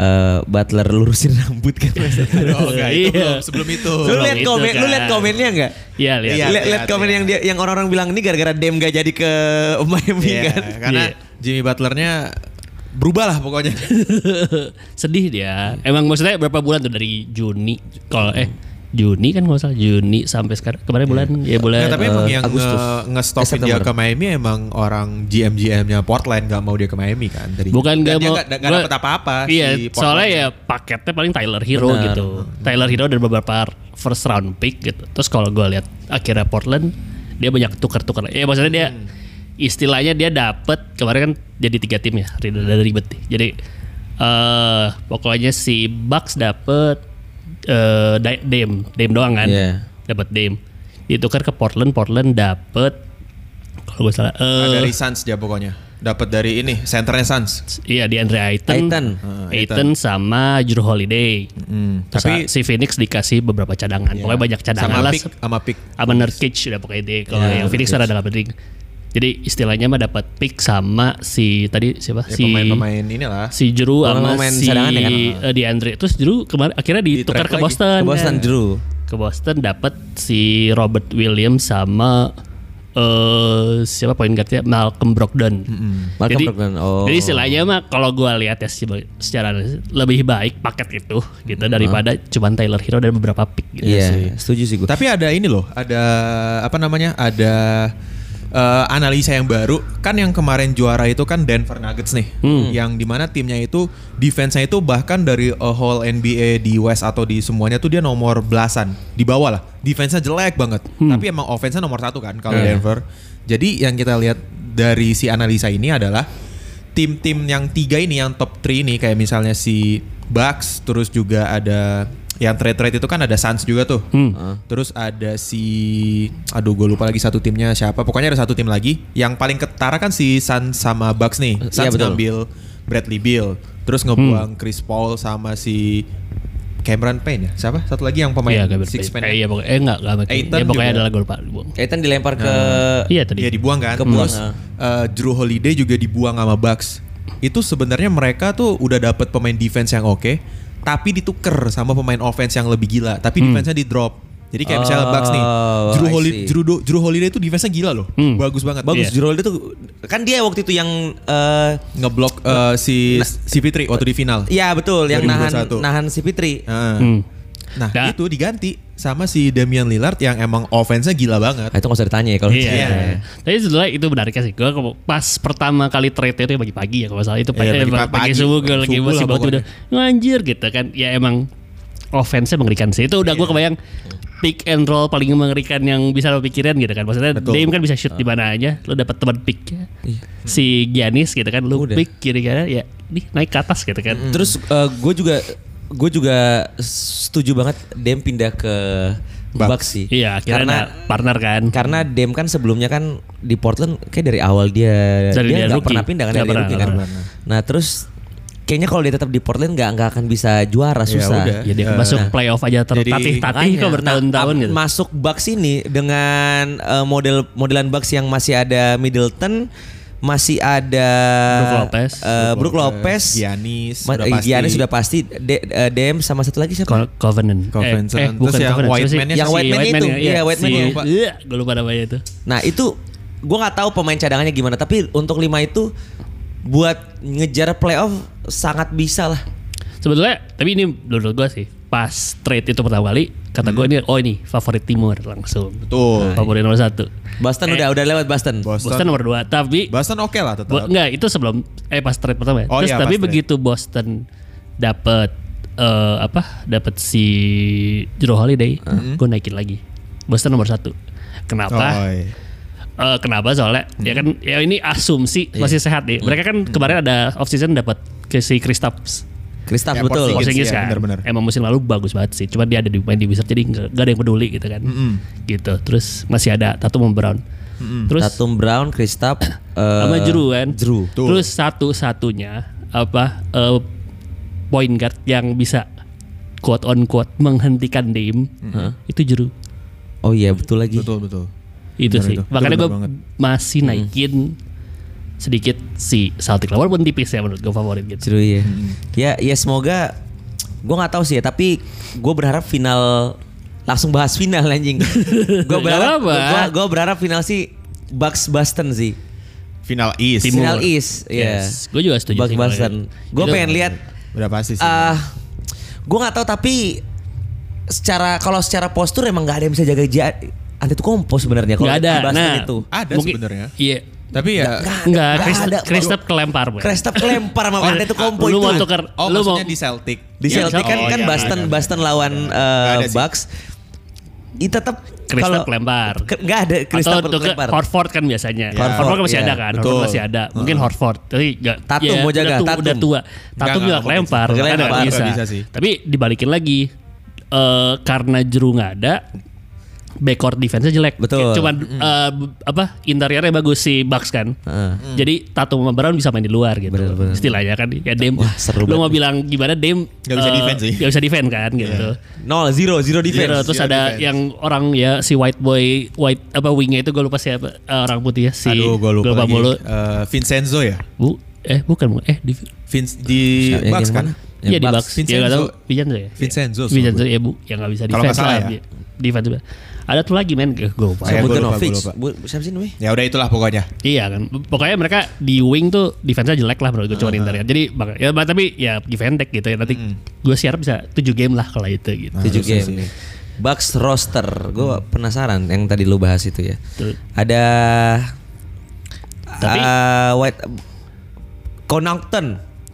C: eh, Butler lurusin rambut kan.
A: Oh, enggak, itu
B: Iya.
A: belum, sebelum itu.
C: lu lihat
B: itu
C: komen, lu
B: kan.
C: lihat komennya enggak?
B: Iya, lihat.
A: Iya,
C: lihat lihat
A: lihat,
C: komen
A: lihat.
C: yang dia yang orang-orang bilang ini gara-gara Dem gak jadi ke Miami
A: Iya,
C: kan.
A: karena
B: Iya.
A: Jimmy Butlernya berubah lah pokoknya.
B: sedih dia. Emang maksudnya berapa bulan tuh dari Juni kalau eh Juni kan nggak salah Juni sampai sekarang kemarin bulan ya bulan
A: Nah, tapi emang
C: eh,
A: yang
C: Agustus.
A: nge- nge-stopin
C: Eh,
A: dia
C: September.
A: ke Miami emang orang GM GM-nya Portland nggak mau dia ke Miami kan tadi.
B: bukan
A: Dan
B: gak
A: dia
B: mau
A: nggak- nggak
B: gua-
A: dapet apa-apa.
B: Iya,
A: si Portland.
B: soalnya ya paketnya paling Tyler Hero
C: Benar.
B: gitu. Tyler Hero dan beberapa first round pick gitu. Terus kalau gue lihat akhirnya Portland dia banyak tukar-tukar. Ya maksudnya dia
C: Hmm.
B: istilahnya dia dapet kemarin kan jadi tiga tim ya, ribet dan ribet. nih. Jadi eh pokoknya si Bucks dapet eh Di- Dame, Dame doang kan.
C: Iya.
B: Dapat Dame. Ditukar ke Portland, Portland dapet kalau gue salah eh,
A: Nah, dari Suns dia pokoknya. Dapat dari ini senternya Suns.
B: Iya di Andre Ayton,
C: Ayton.
A: Heeh, Ayton.
B: Ayton sama Juru Holiday.
A: Tapi-
B: Terus si Phoenix dikasih beberapa
C: Iya.
B: cadangan. Pokoknya banyak cadangan
A: sama
B: lah.
A: pick, sama pick.
C: Iya,
B: Sama Nurkic udah pokoknya deh. Kalau yang Phoenix ada nggak penting. Jadi istilahnya mah dapat pick sama si tadi
A: Ya,
B: siapa? si
A: pemain-pemain inilah.
B: si Jeru sama
C: Pemain-pemain
B: si
C: cadangan ya kan?
B: eh, DeAndre. Terus Jeru kemarin akhirnya ditukar
A: Di-trade
B: ke
A: lagi.
B: Boston.
C: Ke Boston
B: Nah,
C: Drew.
B: Ke Boston dapat si Robert Williams sama eh siapa poin guardnya Malcolm Brogdon.
C: Malcolm Brogdon, oh.
B: Jadi istilahnya mah kalau gua lihat ya seba- secara analisis, lebih baik paket itu gitu daripada cuman Tyler Hero dan beberapa pick gitu.
C: Iya, setuju sih gue.
A: Tapi ada ini loh, ada apa namanya? Ada eh, analisa yang baru. Kan yang kemarin juara itu kan Denver Nuggets nih, yang dimana timnya itu defense-nya itu bahkan dari eh, whole NBA di West atau di semuanya tuh dia nomor belasan di bawah lah. Defense-nya jelek banget, tapi emang offense-nya nomor satu kan kalau Denver. Jadi yang kita lihat dari si analisa ini adalah tim-tim yang tiga ini yang top 3 ini kayak misalnya si Bucks terus juga ada yang trade trade itu kan ada Suns juga tuh terus ada si aduh gue lupa lagi satu timnya siapa pokoknya ada satu tim lagi yang paling ketara kan si Suns sama Bucks nih
C: Iya,
A: Suns
C: betul.
A: ngambil Bradley Beal terus ngebuang Chris Paul sama si Cameron Payne ya siapa satu lagi yang pemain
B: Iya, Gabriel
A: six man
B: Payne.
A: ya?
B: Eh, iya pokoknya eh enggak enggak.
A: Ayton
B: Ya pokoknya
A: juga.
B: adalah gol Pak. Buang.
C: Ethan dilempar ke
B: Iya tadi.
A: Iya dibuang kan.
C: Kebuang,
A: Terus
C: ah.
A: eh, Drew Holiday juga dibuang sama Bucks. Itu sebenarnya mereka tuh udah dapet pemain defense yang oke, tapi ditukar sama pemain offense yang lebih gila. Tapi defense-nya di drop. Jadi kayak misalnya
C: Hmm. Oh,
A: Bucks nih, Drew,
C: I
A: Holi
C: see. Hmm.
A: Drew, Do- Drew Holiday itu defense-nya gila loh. Bagus banget.
C: bagus
B: Iya.
C: Drew Holiday tuh kan dia waktu itu yang eh,
A: Ngeblok eh, si si Fitri waktu di final.
C: Iya Hmm. betul, yang nahan
A: 2021.
C: nahan si Fitri.
A: Heeh. Nah,
B: Nah.
A: itu diganti sama si Damian Lillard yang emang offense-nya gila banget.
C: Ah, itu nggak usah ditanya ya
A: Oh,
C: kalau
B: Iya. Tapi sebenarnya itu menariknya sih. Gue pas pertama kali trade itu ya pagi-pagi ya kalau nggak salah itu pagi,
A: Iya,
B: eh,
A: pagi-
B: pagi,
A: pagi.
B: subuh gue lagi
A: Subuh
B: masih
A: lah
B: batu
A: pokoknya.
B: udah anjir gitu kan. Ya emang offense-nya mengerikan sih. Itu udah
A: Iya.
B: gue kebayang pick and roll paling mengerikan yang bisa lo pikirin gitu kan. Maksudnya
A: Betul. Ah. Iya.
B: Dame kan bisa shoot di mana aja, lo dapat teman picknya. Si Giannis gitu kan, lo
C: Udah.
B: pick kiri kanan ya nih naik ke atas gitu kan.
C: Terus gue juga gue juga setuju banget Dem pindah ke
A: Bucks.
C: Bucks nah. sih.
B: Iya, akhirnya
C: karena
B: ada partner kan.
C: karena Dem kan sebelumnya kan di Portland kayak dari awal dia
B: Dari dia
C: dia nggak
B: rookie.
C: pernah pindah kan
B: Nggak
C: dari
B: pernah,
C: rookie
B: nggak
C: kan.
A: pernah.
C: Nah terus kayaknya kalau dia tetap di Portland nggak nggak akan bisa juara susah.
A: udah.
B: Ya dia
A: Nah.
B: masuk playoff aja
A: Jadi,
B: tertatih-tatih
C: Makanya.
B: kok bertahun-tahun
C: Nah,
B: gitu.
C: Masuk Bucks ini dengan eh, model modelan Bucks yang masih ada Middleton, masih ada
B: Brook Lopez.
C: eh, Brook Lopez,
A: Giannis,
C: Ma-
A: udah
C: eh,
A: pasti.
C: Giannis sudah pasti, De- eh, Dem sama satu lagi siapa?
B: Co- Covenant.
A: Covenant.
B: Eh, eh,
A: Terus
B: bukan
A: yang
B: Covenant.
A: White
B: siapa sih?
A: Man-nya
C: Yang White Man itu.
B: ya.
C: Iya, White Man
B: si,
C: yang
A: lupa.
B: Iya, gue lupa namanya itu.
C: Nah itu gue nggak tahu pemain cadangannya gimana, tapi untuk lima itu buat ngejar playoff sangat bisa lah.
B: Sebetulnya, tapi ini menurut gue sih, pas trade itu pertama kali, kata
A: Hmm.
B: gue ini, oh ini favorit timur langsung.
A: Betul.
B: Favorit nomor satu.
C: Boston
B: Eh.
C: udah udah lewat Nah. Boston.
A: Nah, iya. Boston.
B: Boston nomor dua, tapi
A: Boston oke lah tetap.
B: Bo- enggak itu sebelum eh pas trade pertama ya.
A: Oh
B: Terus
A: iya,
B: tapi
A: pas trade.
B: begitu Boston dapat eh, apa? Dapat si Jero Holiday, gue naikin lagi. Boston nomor satu. Kenapa?
A: Hmm. Oh, iya.
B: Eh, kenapa soalnya ya kan
A: Mm-hmm.
B: ya ini asumsi
A: Iya.
B: masih sehat nih. Mereka kan kemarin ada off season dapat ke si Kristaps
A: Ya,
C: Kristaps betul.
A: Porzingis.
B: Porzingis
A: Iya,
B: kan.
A: benar-benar.
B: Emang musim lalu bagus banget sih. Cuma dia ada di main di Wizards jadi nggak nggak ada yang peduli gitu kan. Gitu. Terus masih ada Tatum sama Brown. Terus
C: Tatum Brown, Kristaps, eh,
B: sama Juru kan.
C: Jrue.
A: Tuh.
B: Terus satu-satunya apa eh, point guard yang bisa quote on quote menghentikan Dame itu Juru.
C: Oh iya betul lagi.
A: Betul betul.
B: Itu
A: Benar
B: sih.
A: itu. Itu
B: Makanya
A: benar
B: gue
A: banget.
C: Hmm.
B: masih naikin sedikit si Celtic lawan pun tipis ya menurut gue favorit gitu.
C: Seru ya. Ya ya semoga gue nggak tahu sih ya tapi gue berharap final langsung bahas final anjing. gue
B: Nggak
C: berharap
B: apa-apa.
C: gue gue berharap final sih Bucks Boston sih.
A: Final East.
B: Timur.
C: Final East ya.
B: Yes. Gue juga setuju
C: Bucks
B: sih kalau
C: Boston.
B: gitu.
C: Gue
B: Itu-
C: pengen lihat
A: Udah pasti sih.
C: ah gue nggak tahu tapi secara kalau secara postur emang nggak ada yang bisa jaga ja Antetokounmpo sebenarnya kalau
B: Nggak ada.
C: di Boston
B: Nah,
C: itu.
A: ada
B: mungkin-
A: sebenarnya.
B: Iya.
A: Tapi ya
B: Enggak,
C: nggak
B: Christ-
C: ada.
B: Christoph kelempar. Boy.
C: Krestap kelempar sama Antetokounmpo
B: lu
C: itu.
B: mau tuker,
A: Oh,
B: lu mau
A: maksudnya di Celtic.
C: Di
B: Ya,
C: Celtic kan,
B: oh,
C: kan
B: iya,
C: Boston
A: iya, iya.
C: Boston lawan
A: Nggak ada
C: eh
A: sih.
C: Bucks. Itu tetap
B: Kristaps lempar.
C: Ke- nggak ada
B: atau
C: Kristaps
B: untuk
C: lempar.
B: Horford kan biasanya.
A: Horford,
B: Horford kan masih
C: iya.
B: ada kan. Horford
A: Betul.
B: masih ada. Mungkin Horford. Tapi enggak.
C: Tatum mau jaga,
B: Udah, tu- udah
C: Tatum.
B: tua.
A: Nggak,
B: Tatum juga
A: nggak mungkin.
B: lempar. kan
C: Kelempar, nggak
B: bisa.
A: bisa sih.
B: Tapi dibalikin lagi eh karena jeru nggak ada backward defense-nya jelek.
C: Betul.
B: Kayak Cuman
A: Hmm.
B: eh, b- apa interiornya bagus si Bucks kan.
C: Heeh.
A: Hmm.
B: Jadi Tatum sama Brown bisa main di luar gitu.
C: Bener, bener.
B: Istilahnya kan ya Dame.
C: Wah,
B: lu
C: seru banget.
B: mau bilang gimana Dame
A: Nggak bisa
B: eh,
A: defense sih. Iya.
B: nggak bisa defense kan gitu.
C: Nol, zero, zero defense.
B: Zero, terus ada yang orang ya si white boy white apa wingnya itu gue lupa siapa eh, orang putih ya si
A: Aduh, gue lupa
B: lupa
A: lagi.
B: mulu.
A: Eh, Vincenzo ya?
B: Bu, eh bukan bukan. eh di
A: Vince di
C: Siapa- yang
A: Bucks
C: di
A: kan?
C: mana?
B: Iya di
C: Bucks.
B: Bucks. Dia nggak tahu
A: Vincenzo.
B: Vincenzo ya.
A: Vincenzo, sama
B: Vincenzo ya bu, yang nggak bisa
A: Kalau nggak
B: defense
A: salah
B: lah.
A: ya.
B: dia. Defense juga. Ada tuh lagi men, gue lupa.
A: Saya- gua lupa,
C: Bogdanovic.
A: gua lupa.
C: Bu- Siapa sih namanya?
A: Ya udah itulah pokoknya.
B: Iya kan. Pokoknya mereka di wing tuh defense-nya jelek lah menurut gue cuma interior. Jadi bang, ya bah- tapi ya defense tech gitu ya. Nanti
A: Hmm.
B: gue siar bisa 7 game lah kalau itu gitu.
A: Nah,
C: Tujuh
A: harusnya
C: game nih. Bucks roster. Gue penasaran yang tadi lu bahas itu ya.
B: Betul.
C: Ada
B: Tapi-
C: ah, White Connaughton.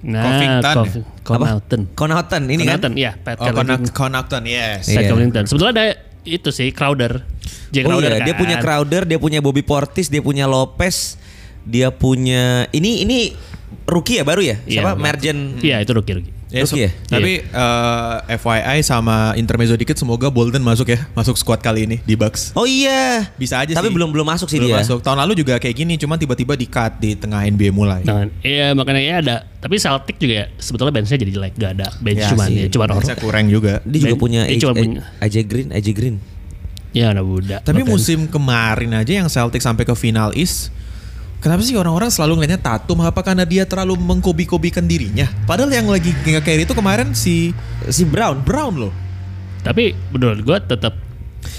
B: Nah,
A: Covington ya?
B: Cov- Connaughton.
C: Connaughton ini kan?
B: Connaughton, Iya, Pat
A: Oh, Connaught-
B: Connaughton.
A: Connaughton, yes.
C: Iya.
B: Pat Connaughton. Sebetulnya ada itu sih Crowder. Jay
C: Oh
B: Crowder
C: iya,
B: kan.
C: dia punya Crowder, dia punya Bobby Portis, dia punya Lopez, dia punya ini ini rookie ya baru ya?
B: Iya,
C: Siapa?
B: baru.
C: Mergen.
B: Iya, itu rookie rookie.
A: Ya,
C: Rookie ya?
A: Tapi eh, FYI sama intermezzo dikit semoga Bolden masuk ya, masuk squad kali ini di Bucks.
C: Oh iya.
A: Bisa aja
C: Tapi
A: sih.
C: belum belum masuk sih
A: Belum
C: dia. ya.
A: masuk. Tahun lalu juga kayak gini, cuman tiba-tiba di cut di tengah NBA mulai.
B: Nah, iya makanya ya ada. Tapi Celtic juga ya, sebetulnya benchnya jadi jelek. Gak ada bench
C: Iya
A: Ya
B: cuman
A: sih,
B: ya, cuman orang.
A: Bisa kurang juga.
C: Dia juga
B: Ben-
C: punya
B: dia
C: A-
B: cuma
C: A-
B: punya-
C: AJ Green, AJ Green.
B: Ya anak muda.
A: Tapi musim kemarin aja yang Celtic sampai ke final East, kenapa sih orang-orang selalu ngeliatnya Tatum? Apa karena dia terlalu mengkobi-kobikan dirinya? Padahal yang lagi nggak carry itu kemarin si
C: Si Brown
A: Brown loh.
B: Tapi menurut gua tetap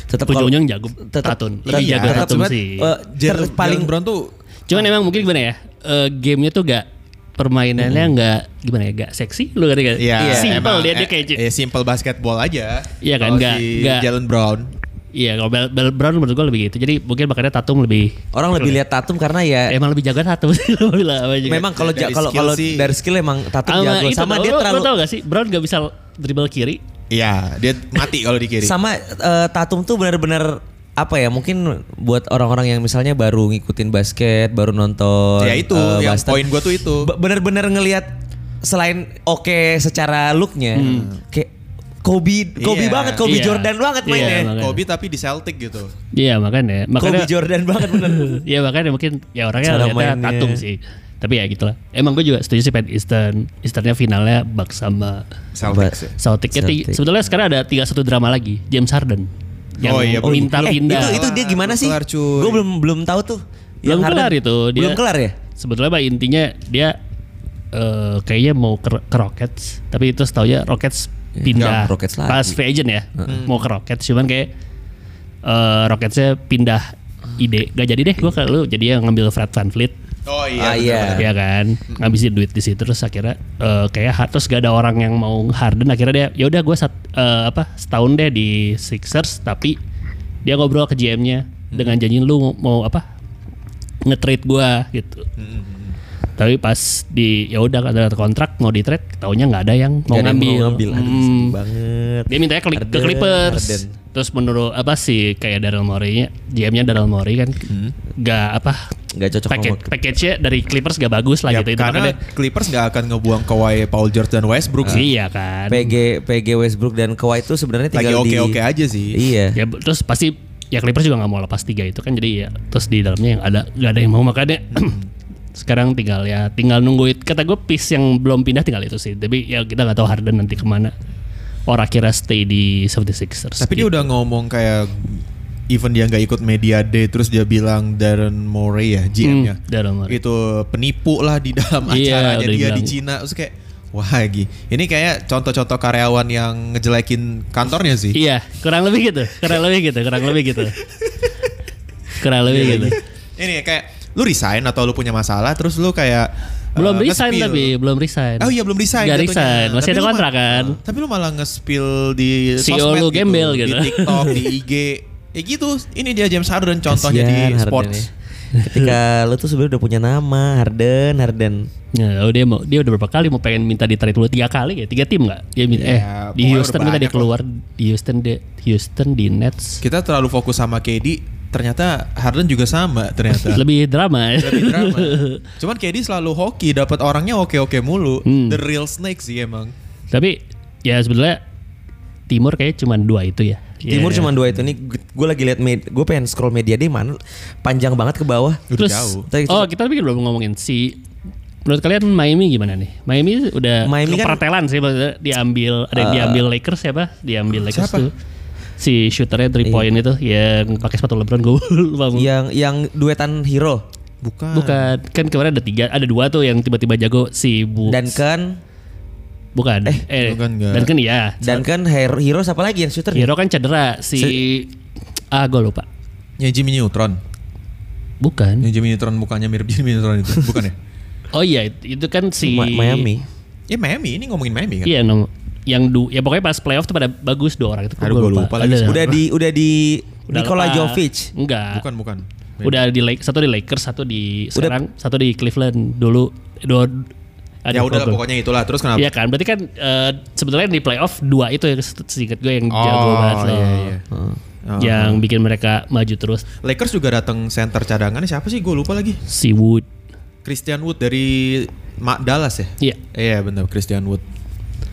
C: tetap kalau-
B: ujung-ujung jago Tatun. Lebih
A: iya,
B: jago
A: tetap
B: Tatun
A: sebenarnya,
B: sih.
C: eh, ter-
A: Jalen
C: paling
A: paling Brown tuh
B: Cuman emang mungkin gimana ya? eh, gamenya tuh gak permainannya
C: Hmm.
B: nggak gimana ya gak seksi lu ngerti
C: Iya,
B: gak?
A: ya
B: Iya, simple
A: emang,
B: dia dia
A: eh,
B: kayak
A: eh, simple basketball aja.
B: Iya
A: Kalau
B: kan, nggak-
A: si
B: nggak-
A: Jalen Brown.
B: iya kalau Bel, Bel Brown menurut gua lebih gitu. Jadi mungkin makanya Tatum lebih
C: orang lebih lihat Tatum karena ya
B: emang lebih jago Tatum sih lu bilang apa juga.
C: memang kalau
A: Eh, iya,
C: ja-
A: Dari
C: kalau
A: skill
C: kalau
A: sih.
C: dari skill emang Tatum
B: sama
C: jago
B: Ah, itu
C: sama
B: tau, lu-
C: dia
B: lu
C: terlalu
B: tau gak sih Brown gak bisa dribble kiri
A: Iya, dia mati kalau di kiri.
C: sama eh, Tatum tuh benar-benar apa ya mungkin buat orang-orang yang misalnya baru ngikutin basket baru nonton
A: ya itu
C: eh,
A: yang
C: basket.
A: poin gue tuh itu.
C: Be- bener-bener ngelihat selain oke secara looknya kayak Kobe
A: Hmm.
C: Kobe
A: Iya.
C: banget Kobe
B: Iya.
C: Jordan banget
B: Iya,
C: mainnya
B: makanya.
A: Kobe tapi di Celtic gitu.
B: Iya makanya
C: Kobe
B: makanya
C: Jordan banget bener
B: ya makanya mungkin ya orangnya
C: Cara
B: lihatnya
C: mainnya.
B: Tatum sih tapi ya gitulah emang gue juga setuju sih Pat Eastern Easternnya finalnya Bucks sama
A: Celtic sih.
B: Celtic, Ya, ti-
C: Celtic.
B: sebetulnya sekarang ada tiga satu drama lagi James Harden yang
A: Oh iya, belum-
B: minta
C: Eh,
B: pindah
C: itu itu dia
A: Kelar,
C: gimana sih
A: kelar, cuy.
C: gue belum belum tahu tuh
B: Belum
C: Harden.
B: kelar itu, dia-
C: belum kelar
A: Iya,
C: ya
B: sebetulnya bah, intinya dia eh, kayaknya mau ke, ke Rockets tapi itu setahunya Rockets pindah
C: enggak, Iya. Rockets lagi.
B: pas free agent ya mau ke Rockets cuman kayak eh, Rocketsnya pindah ide gak jadi deh gue kalau jadi yang ngambil Fred VanVleet
A: Oh benar,
C: Ah, iya.
A: benar.
B: ya kan ngabisin duit di situ terus akhirnya eh, kayak ha- terus gak ada orang yang mau Harden akhirnya dia ya udah gue apa setahun deh di Sixers tapi dia ngobrol ke GM-nya
C: Hmm.
B: dengan janjiin lu mau, mau apa nge-trade gue gitu
C: Hmm,
B: tapi pas di ya udah ada kontrak mau di trade taunya nggak ada yang mau
C: Gak ada yang
B: ngambil,
C: ngambil. Aduh,
B: Hmm.
C: sedih banget
B: dia mintanya ke, ke
C: Harden,
B: Clippers
C: Harden.
B: terus menurut apa sih kayak Daryl Morey-nya GM-nya Daryl Morey kan
C: Hmm.
B: nggak apa
C: nggak cocok sama
B: package package-nya dari Clippers gak bagus lah
A: Ya,
B: gitu itu
A: karena
B: makanya-
A: Clippers nggak akan ngebuang Kawhi, Paul George dan Westbrook sih.
B: iya kan
C: PG PG Westbrook dan Kawhi itu sebenarnya
A: Lagi
C: Iya, tinggal di
A: oke-oke aja sih.
C: Iya.
B: ya bu- terus pasti ya Clippers juga nggak mau lepas tiga itu kan jadi ya terus di dalamnya yang ada nggak ada yang mau makanya sekarang tinggal ya tinggal nungguin kata gue piece yang belum pindah tinggal itu sih tapi ya kita nggak tahu Harden nanti kemana orang kira stay di 76ers
A: Tapi dia udah ngomong kayak even dia nggak ikut media day terus dia bilang Darren Morey ya
B: Hmm,
A: Iya. GM-nya.
B: Daryl Morey.
A: Itu penipu lah di dalam
B: Iya,
A: acaranya
B: udah
A: dia di
B: dibilang.
A: Cina. Terus kayak wah lagi. Ini kayak contoh-contoh karyawan yang ngejelekin kantornya sih.
B: iya kurang lebih gitu kurang lebih gitu kurang lebih gitu kurang lebih
A: Iya
B: gitu
A: Ini kayak lu resign atau lu punya masalah terus lu kayak
B: belum
A: eh,
B: resign
A: nge-spill.
B: tapi belum resign
A: Oh iya belum resign.
B: Nggak
A: jatuhnya.
B: resign masih
A: Tapi lu
B: ada
A: ma- eh,
B: kontrak kan
A: Tapi lu malah nge-spill di
B: CEO
A: sosmed
B: lu gembel gitu.
A: Di TikTok, di IG. Ya gitu. Ini dia James Harden contohnya
C: Kasihan
A: di
C: Harden
A: sports.
C: ya. Ketika lu tuh sebenarnya udah punya nama Harden, Harden.
B: Ya, lalu dia mau dia udah berapa kali mau pengen minta ditarik dulu tiga kali ya tiga tim nggak dia minta
A: Ya,
B: eh di
A: pokoknya
B: Houston
A: udah
B: minta dia
A: banyak
B: keluar di Houston di Houston di Nets
A: Kita terlalu fokus sama KD, ternyata Harden juga sama ternyata.
B: lebih drama
A: Lebih drama. Cuman KD selalu hoki, dapat orangnya oke-oke mulu.
B: Hmm.
A: The real snake sih emang.
B: tapi ya sebenarnya Timur kayaknya cuma dua itu ya
A: Iya,
C: Timur cuma dua itu nih. Gue lagi lihat med- gue pengen scroll media deh mana panjang banget ke bawah.
A: Udah
B: Terus,
A: jauh.
C: Tadi-
B: oh kita pikir belum ngomongin si Menurut kalian Miami gimana nih? Miami udah
C: Miami kan-
B: pertelan sih maksudnya diambil ada yang diambil Lakers siapa? Diambil Lakers
A: Siapa?
B: tuh. Si shooternya 3 point itu yang pakai sepatu LeBron gue lupa mulu.
C: Yang yang duetan hero Ah.
A: Bukan.
B: Bukan, kan kemarin ada tiga, ada dua tuh yang tiba-tiba jago si Bu.
C: dan kan
B: bukan. Eh,
A: bukan nggak.
B: dan kan iya.
C: dan kan hero, hero siapa lagi yang
A: Iya.
C: shooter?
B: Hero kan cedera si, ah gue lupa.
A: Ya Jimmy Neutron.
B: Bukan.
A: Ya Jimmy Neutron mukanya mirip Jimmy Neutron itu. Bukan ya?
B: Oh iya, itu- itu kan si
C: Ma- Miami.
A: Ya Miami, ini ngomongin Miami kan?
B: Iya, nom- yang du, ya pokoknya pas playoff tuh pada bagus dua orang itu.
A: Aduh, gua lupa lagi.
B: Ada-
C: Udah di udah di
B: Udah
C: Nikola
B: lepas.
C: Jovic.
B: Enggak.
A: Bukan, ya. bukan.
B: Udah di Lake, satu di Lakers, satu di
C: Udah.
B: sekarang, satu di Cleveland dulu. Dua,
A: Ya udah lah, pokoknya itulah. Terus kenapa?
B: Iya kan, berarti kan eh, sebetulnya di playoff dua itu yang singkat gue yang jago
A: Oh,
B: banget loh.
A: iya, iya. Oh.
B: Yang bikin mereka maju terus
A: Lakers juga datang center cadangannya siapa sih? Gue lupa lagi.
B: si Wood.
A: Christian Wood dari Ma- Dallas ya?
B: Iya.
A: Iya benar Christian Wood.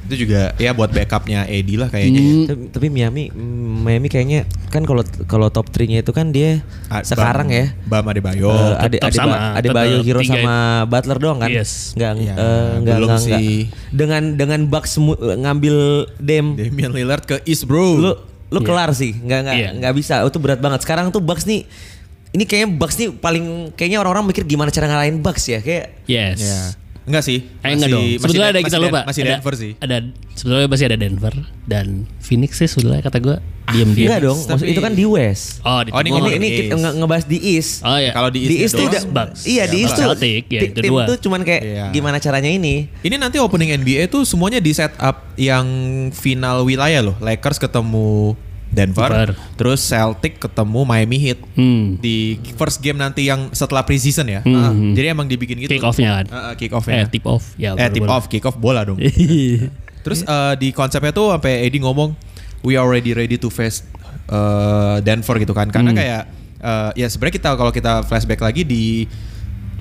A: Itu juga ya buat backupnya Edi lah kayaknya. ya.
B: Hmm,
C: Tapi, tapi Miami mm, Miami kayaknya kan kalau kalau top 3-nya itu kan dia
A: Ah,
C: sekarang
A: Bam-
C: ya.
A: Bam Adebayo. Ah.
C: eh, ada
B: Oh, tetap
C: ada
B: sama,
C: ada Bayu
B: tetap
C: Hero
B: tiga
C: sama Butler doang kan?
B: Yes.
C: Enggak
A: Ya,
C: enggak
A: belum
C: enggak
A: sih.
C: Dengan dengan Bucks mu- ngambil Dem
A: Damian Lillard ke East bro.
C: lu lu kelar sih nggak nggak
B: Iya.
C: nggak bisa Oh, itu berat banget sekarang tuh Bucks nih ini kayaknya Bucks nih paling kayaknya orang-orang mikir gimana cara ngalahin Bucks ya kayak
B: yes.
A: Ya. Enggak sih.
B: Eh enggak
A: Masih-
B: dong.
A: masih
B: Sebetulnya
A: Dan-
B: ada kita
A: masih Dan-
B: lupa.
A: Masih
B: ada,
A: Denver sih.
B: Ada sebetulnya masih ada Denver dan Phoenix sih sebetulnya kata gue diam-diam.
C: enggak dong maksud
A: tapi-
C: itu kan di West
B: Iya, Oh, di
A: Ah, Oh, ini
B: timur.
A: ngomong-
C: ini ini
A: di
C: kita
A: East.
C: nge- ngebahas di East
B: Oh iya.
A: Kalau di
C: di East tuh
A: doang,
C: udah
B: Bucks.
C: iya di
B: Ya,
C: East tuh
B: Celtic, ya,
C: ti-
B: itu
C: tim
B: dua.
C: tuh cuman kayak
A: Iya.
C: gimana caranya ini
A: Ini nanti opening NBA tuh semuanya di setup yang final wilayah loh. Lakers ketemu Denver,
B: Denver.
A: terus Celtic ketemu Miami Heat
B: Hmm.
A: di first game nanti yang setelah preseason ya. Ah, jadi emang dibikin gitu.
B: Kick off-nya Hmm. kan.
A: Ah, ah, kick
B: Eh,
A: off-nya.
B: tip off. Ya,
A: eh, tip
B: bola-bola.
A: off, kick off bola dong. Terus eh, di konsepnya tuh sampai Edi ngomong we already ready to face eh, Denver gitu kan.
B: Hmm.
A: Karena kayak eh, ya sebenarnya kita kalau kita flashback lagi di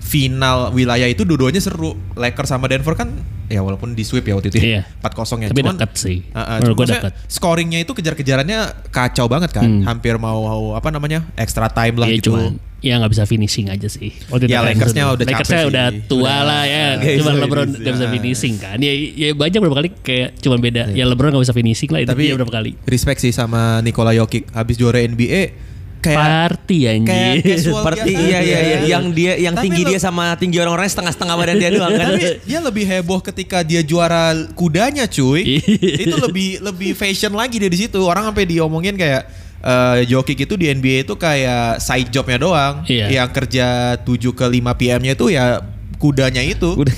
A: final wilayah itu dua-duanya seru. Lakers sama Denver kan ya walaupun di sweep ya waktu itu ya,
B: Iya.
A: 4-0 ya.
B: Tapi dekat sih.
A: Eh, eh,
B: Menurut
A: cuman
B: gue
A: maksudnya
B: dekat.
A: Scoringnya itu kejar-kejarannya kacau banget kan. Hampir mau, mau apa namanya? extra time lah
B: Hmm. Iya
A: gitu.
B: cuman ya nggak bisa finishing aja sih. Waktu
A: Ya,
B: kan
A: Lakersnya
B: seru.
A: udah capek
B: Lakersnya
A: sih.
B: udah tua
A: Udah,
B: lah ya.
A: nggak
B: Cuma
A: bisa
B: LeBron
A: finish.
B: nggak bisa
A: Ah. Iya.
B: finishing kan. Ya, ya banyak berapa kali kayak cuman beda. Ya LeBron nggak bisa finishing lah itu
A: Tapi
B: dia berapa kali.
A: respect sih sama Nikola Jokic habis juara NBA kayak
B: Party
A: kayak
B: anjir.
A: casual
C: seperti
A: biasa
C: iya iya
A: aja.
C: iya yang dia yang
A: Tapi
C: tinggi
A: lu-
C: dia sama tinggi orang-orang setengah-setengah badan dia doang kan
A: Tapi dia lebih heboh ketika dia juara kudanya, cuy.
C: Iya.
A: itu lebih lebih fashion lagi dia di situ. Orang sampai diomongin kayak eh joki itu di NBA itu kayak side jobnya doang.
B: Iya.
A: Yang kerja 7 ke 5 PM-nya itu ya kudanya itu.
C: udah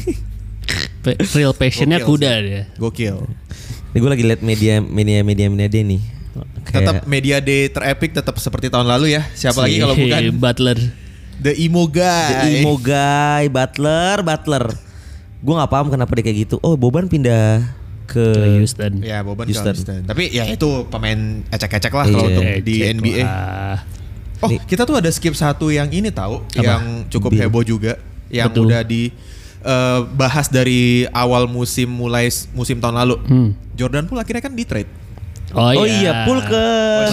B: Pe- Real passionnya
A: Gokil
B: kuda dia.
A: Gokil.
C: ini gue lagi lihat media media media media dia nih
A: Tetap
C: Kayak-
A: media day terepik tetap seperti tahun lalu ya. Siapa lagi
B: Si
A: kalau bukan
B: Butler.
A: The Imo Guy.
C: Iya. The Imo Guy, Butler, Butler. Gue nggak paham kenapa dia kayak gitu. Oh, Boban pindah ke
B: Houston.
A: Ya, Boban
C: Houston.
A: Houston. Tapi ya itu pemain ecek-ecek lah kalau
C: Iya.
A: untuk
B: Eh,
A: di
B: cek
A: NBA.
B: lah.
A: Oh, kita tuh ada skip satu yang ini tahu yang cukup
C: Bill.
A: heboh juga yang
B: Betul.
A: udah di eh, bahas dari awal musim mulai s- musim tahun lalu.
C: Hmm.
A: Jordan Poole akhirnya kan di trade.
B: Oh, iya,
C: Oh iya, Poole ke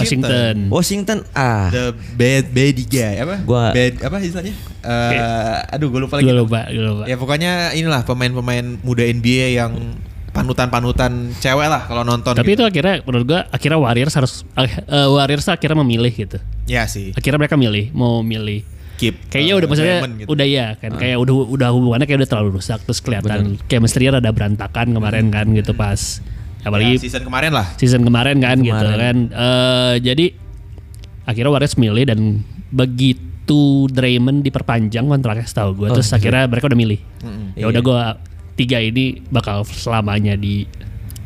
B: Washington.
A: Oh,
C: Washington. Ah,
A: The bad bad guy apa?
C: Gua-
A: bad apa istilahnya? Eh, aduh gue lupa lagi.
B: Gue lupa, gue lupa.
A: Ya pokoknya inilah pemain-pemain muda NBA yang panutan-panutan cewek lah kalau nonton.
B: Tapi
A: gitu.
B: itu akhirnya menurut gua akhirnya Warriors harus eh, eh, Warriors akhirnya memilih gitu.
A: ya sih.
B: Akhirnya mereka milih mau milih.
A: Keep.
B: Kayaknya
A: eh,
B: udah maksudnya
A: Draymond gitu.
B: udah ya
C: Ah.
B: kan kayak udah udah hubungannya kayak udah terlalu rusak terus kelihatan chemistry-nya rada berantakan kemarin
C: Hmm.
B: kan gitu pas
A: Ya,
B: apalagi
A: season kemarin lah.
B: season kemarin kan gitu
C: Kemarin.
B: kan. Eh, jadi akhirnya Warriors milih dan begitu Draymond diperpanjang kontraknya setahu
C: Oh,
B: gue
C: iya.
B: terus akhirnya mereka udah milih.
C: Hmm.
B: Ya udah gua tiga ini bakal selamanya di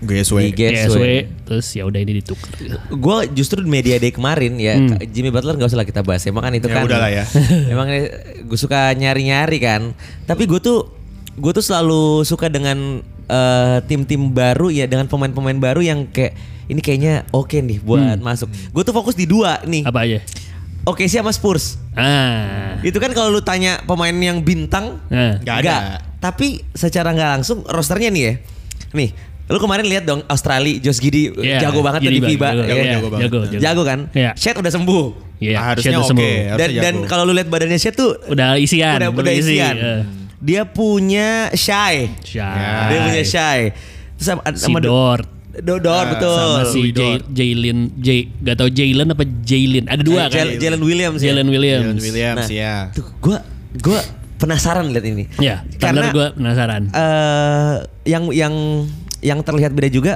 A: GSW.
C: Di GSW.
B: GSW terus ya udah ini ditukar.
C: gue justru di media day kemarin ya Jimmy Butler nggak usah lah kita bahas. Emang kan itu
A: Ya
C: kan.
A: udahlah ya.
C: Emang gue suka nyari-nyari kan. Tapi gue tuh gue tuh selalu suka dengan eh, tim-tim baru ya dengan pemain-pemain baru yang kayak ini kayaknya oke nih buat masuk. Gue tuh fokus di dua nih.
B: Apa aja?
C: Oke sih sama Spurs.
B: Ah.
C: Itu kan kalau lu tanya pemain yang bintang
B: Nah.
A: Nggak ada.
C: Tapi secara nggak langsung rosternya nih ya. Nih, Lu kemarin lihat dong Australia Josh Giddy
B: Iya,
C: jago banget tuh di
B: Giddy
C: FIBA.
B: banget,
C: ya.
A: jago, jago banget.
B: Jago, jago.
C: Jago kan?
B: Iya.
C: Shaq udah sembuh.
B: Iya,
A: Harusnya
B: Shaq udah
A: oke.
B: sembuh.
A: Harusnya
C: Dan dan
A: jago.
C: kalau lu lihat badannya Shaq tuh
B: Udah isian,
C: udah, udah isian.
B: Iya.
C: Dia punya shy.
B: Shy.
C: Dia punya shy. Terus sama,
B: Si
C: sama
B: Dort.
C: Dodor
A: Ah,
C: betul.
B: sama si Jay- Jalen Jay gak tau Jalen apa Jalen ada dua
C: Jal-
B: kan
C: Eh, Jalen Williams ya?
A: Jalen
B: Jalen Williams
A: Williams
C: Nah,
A: ya.
C: Tuh, gua gua penasaran lihat ini.
B: ya karena gue penasaran
C: eh, yang yang yang terlihat beda juga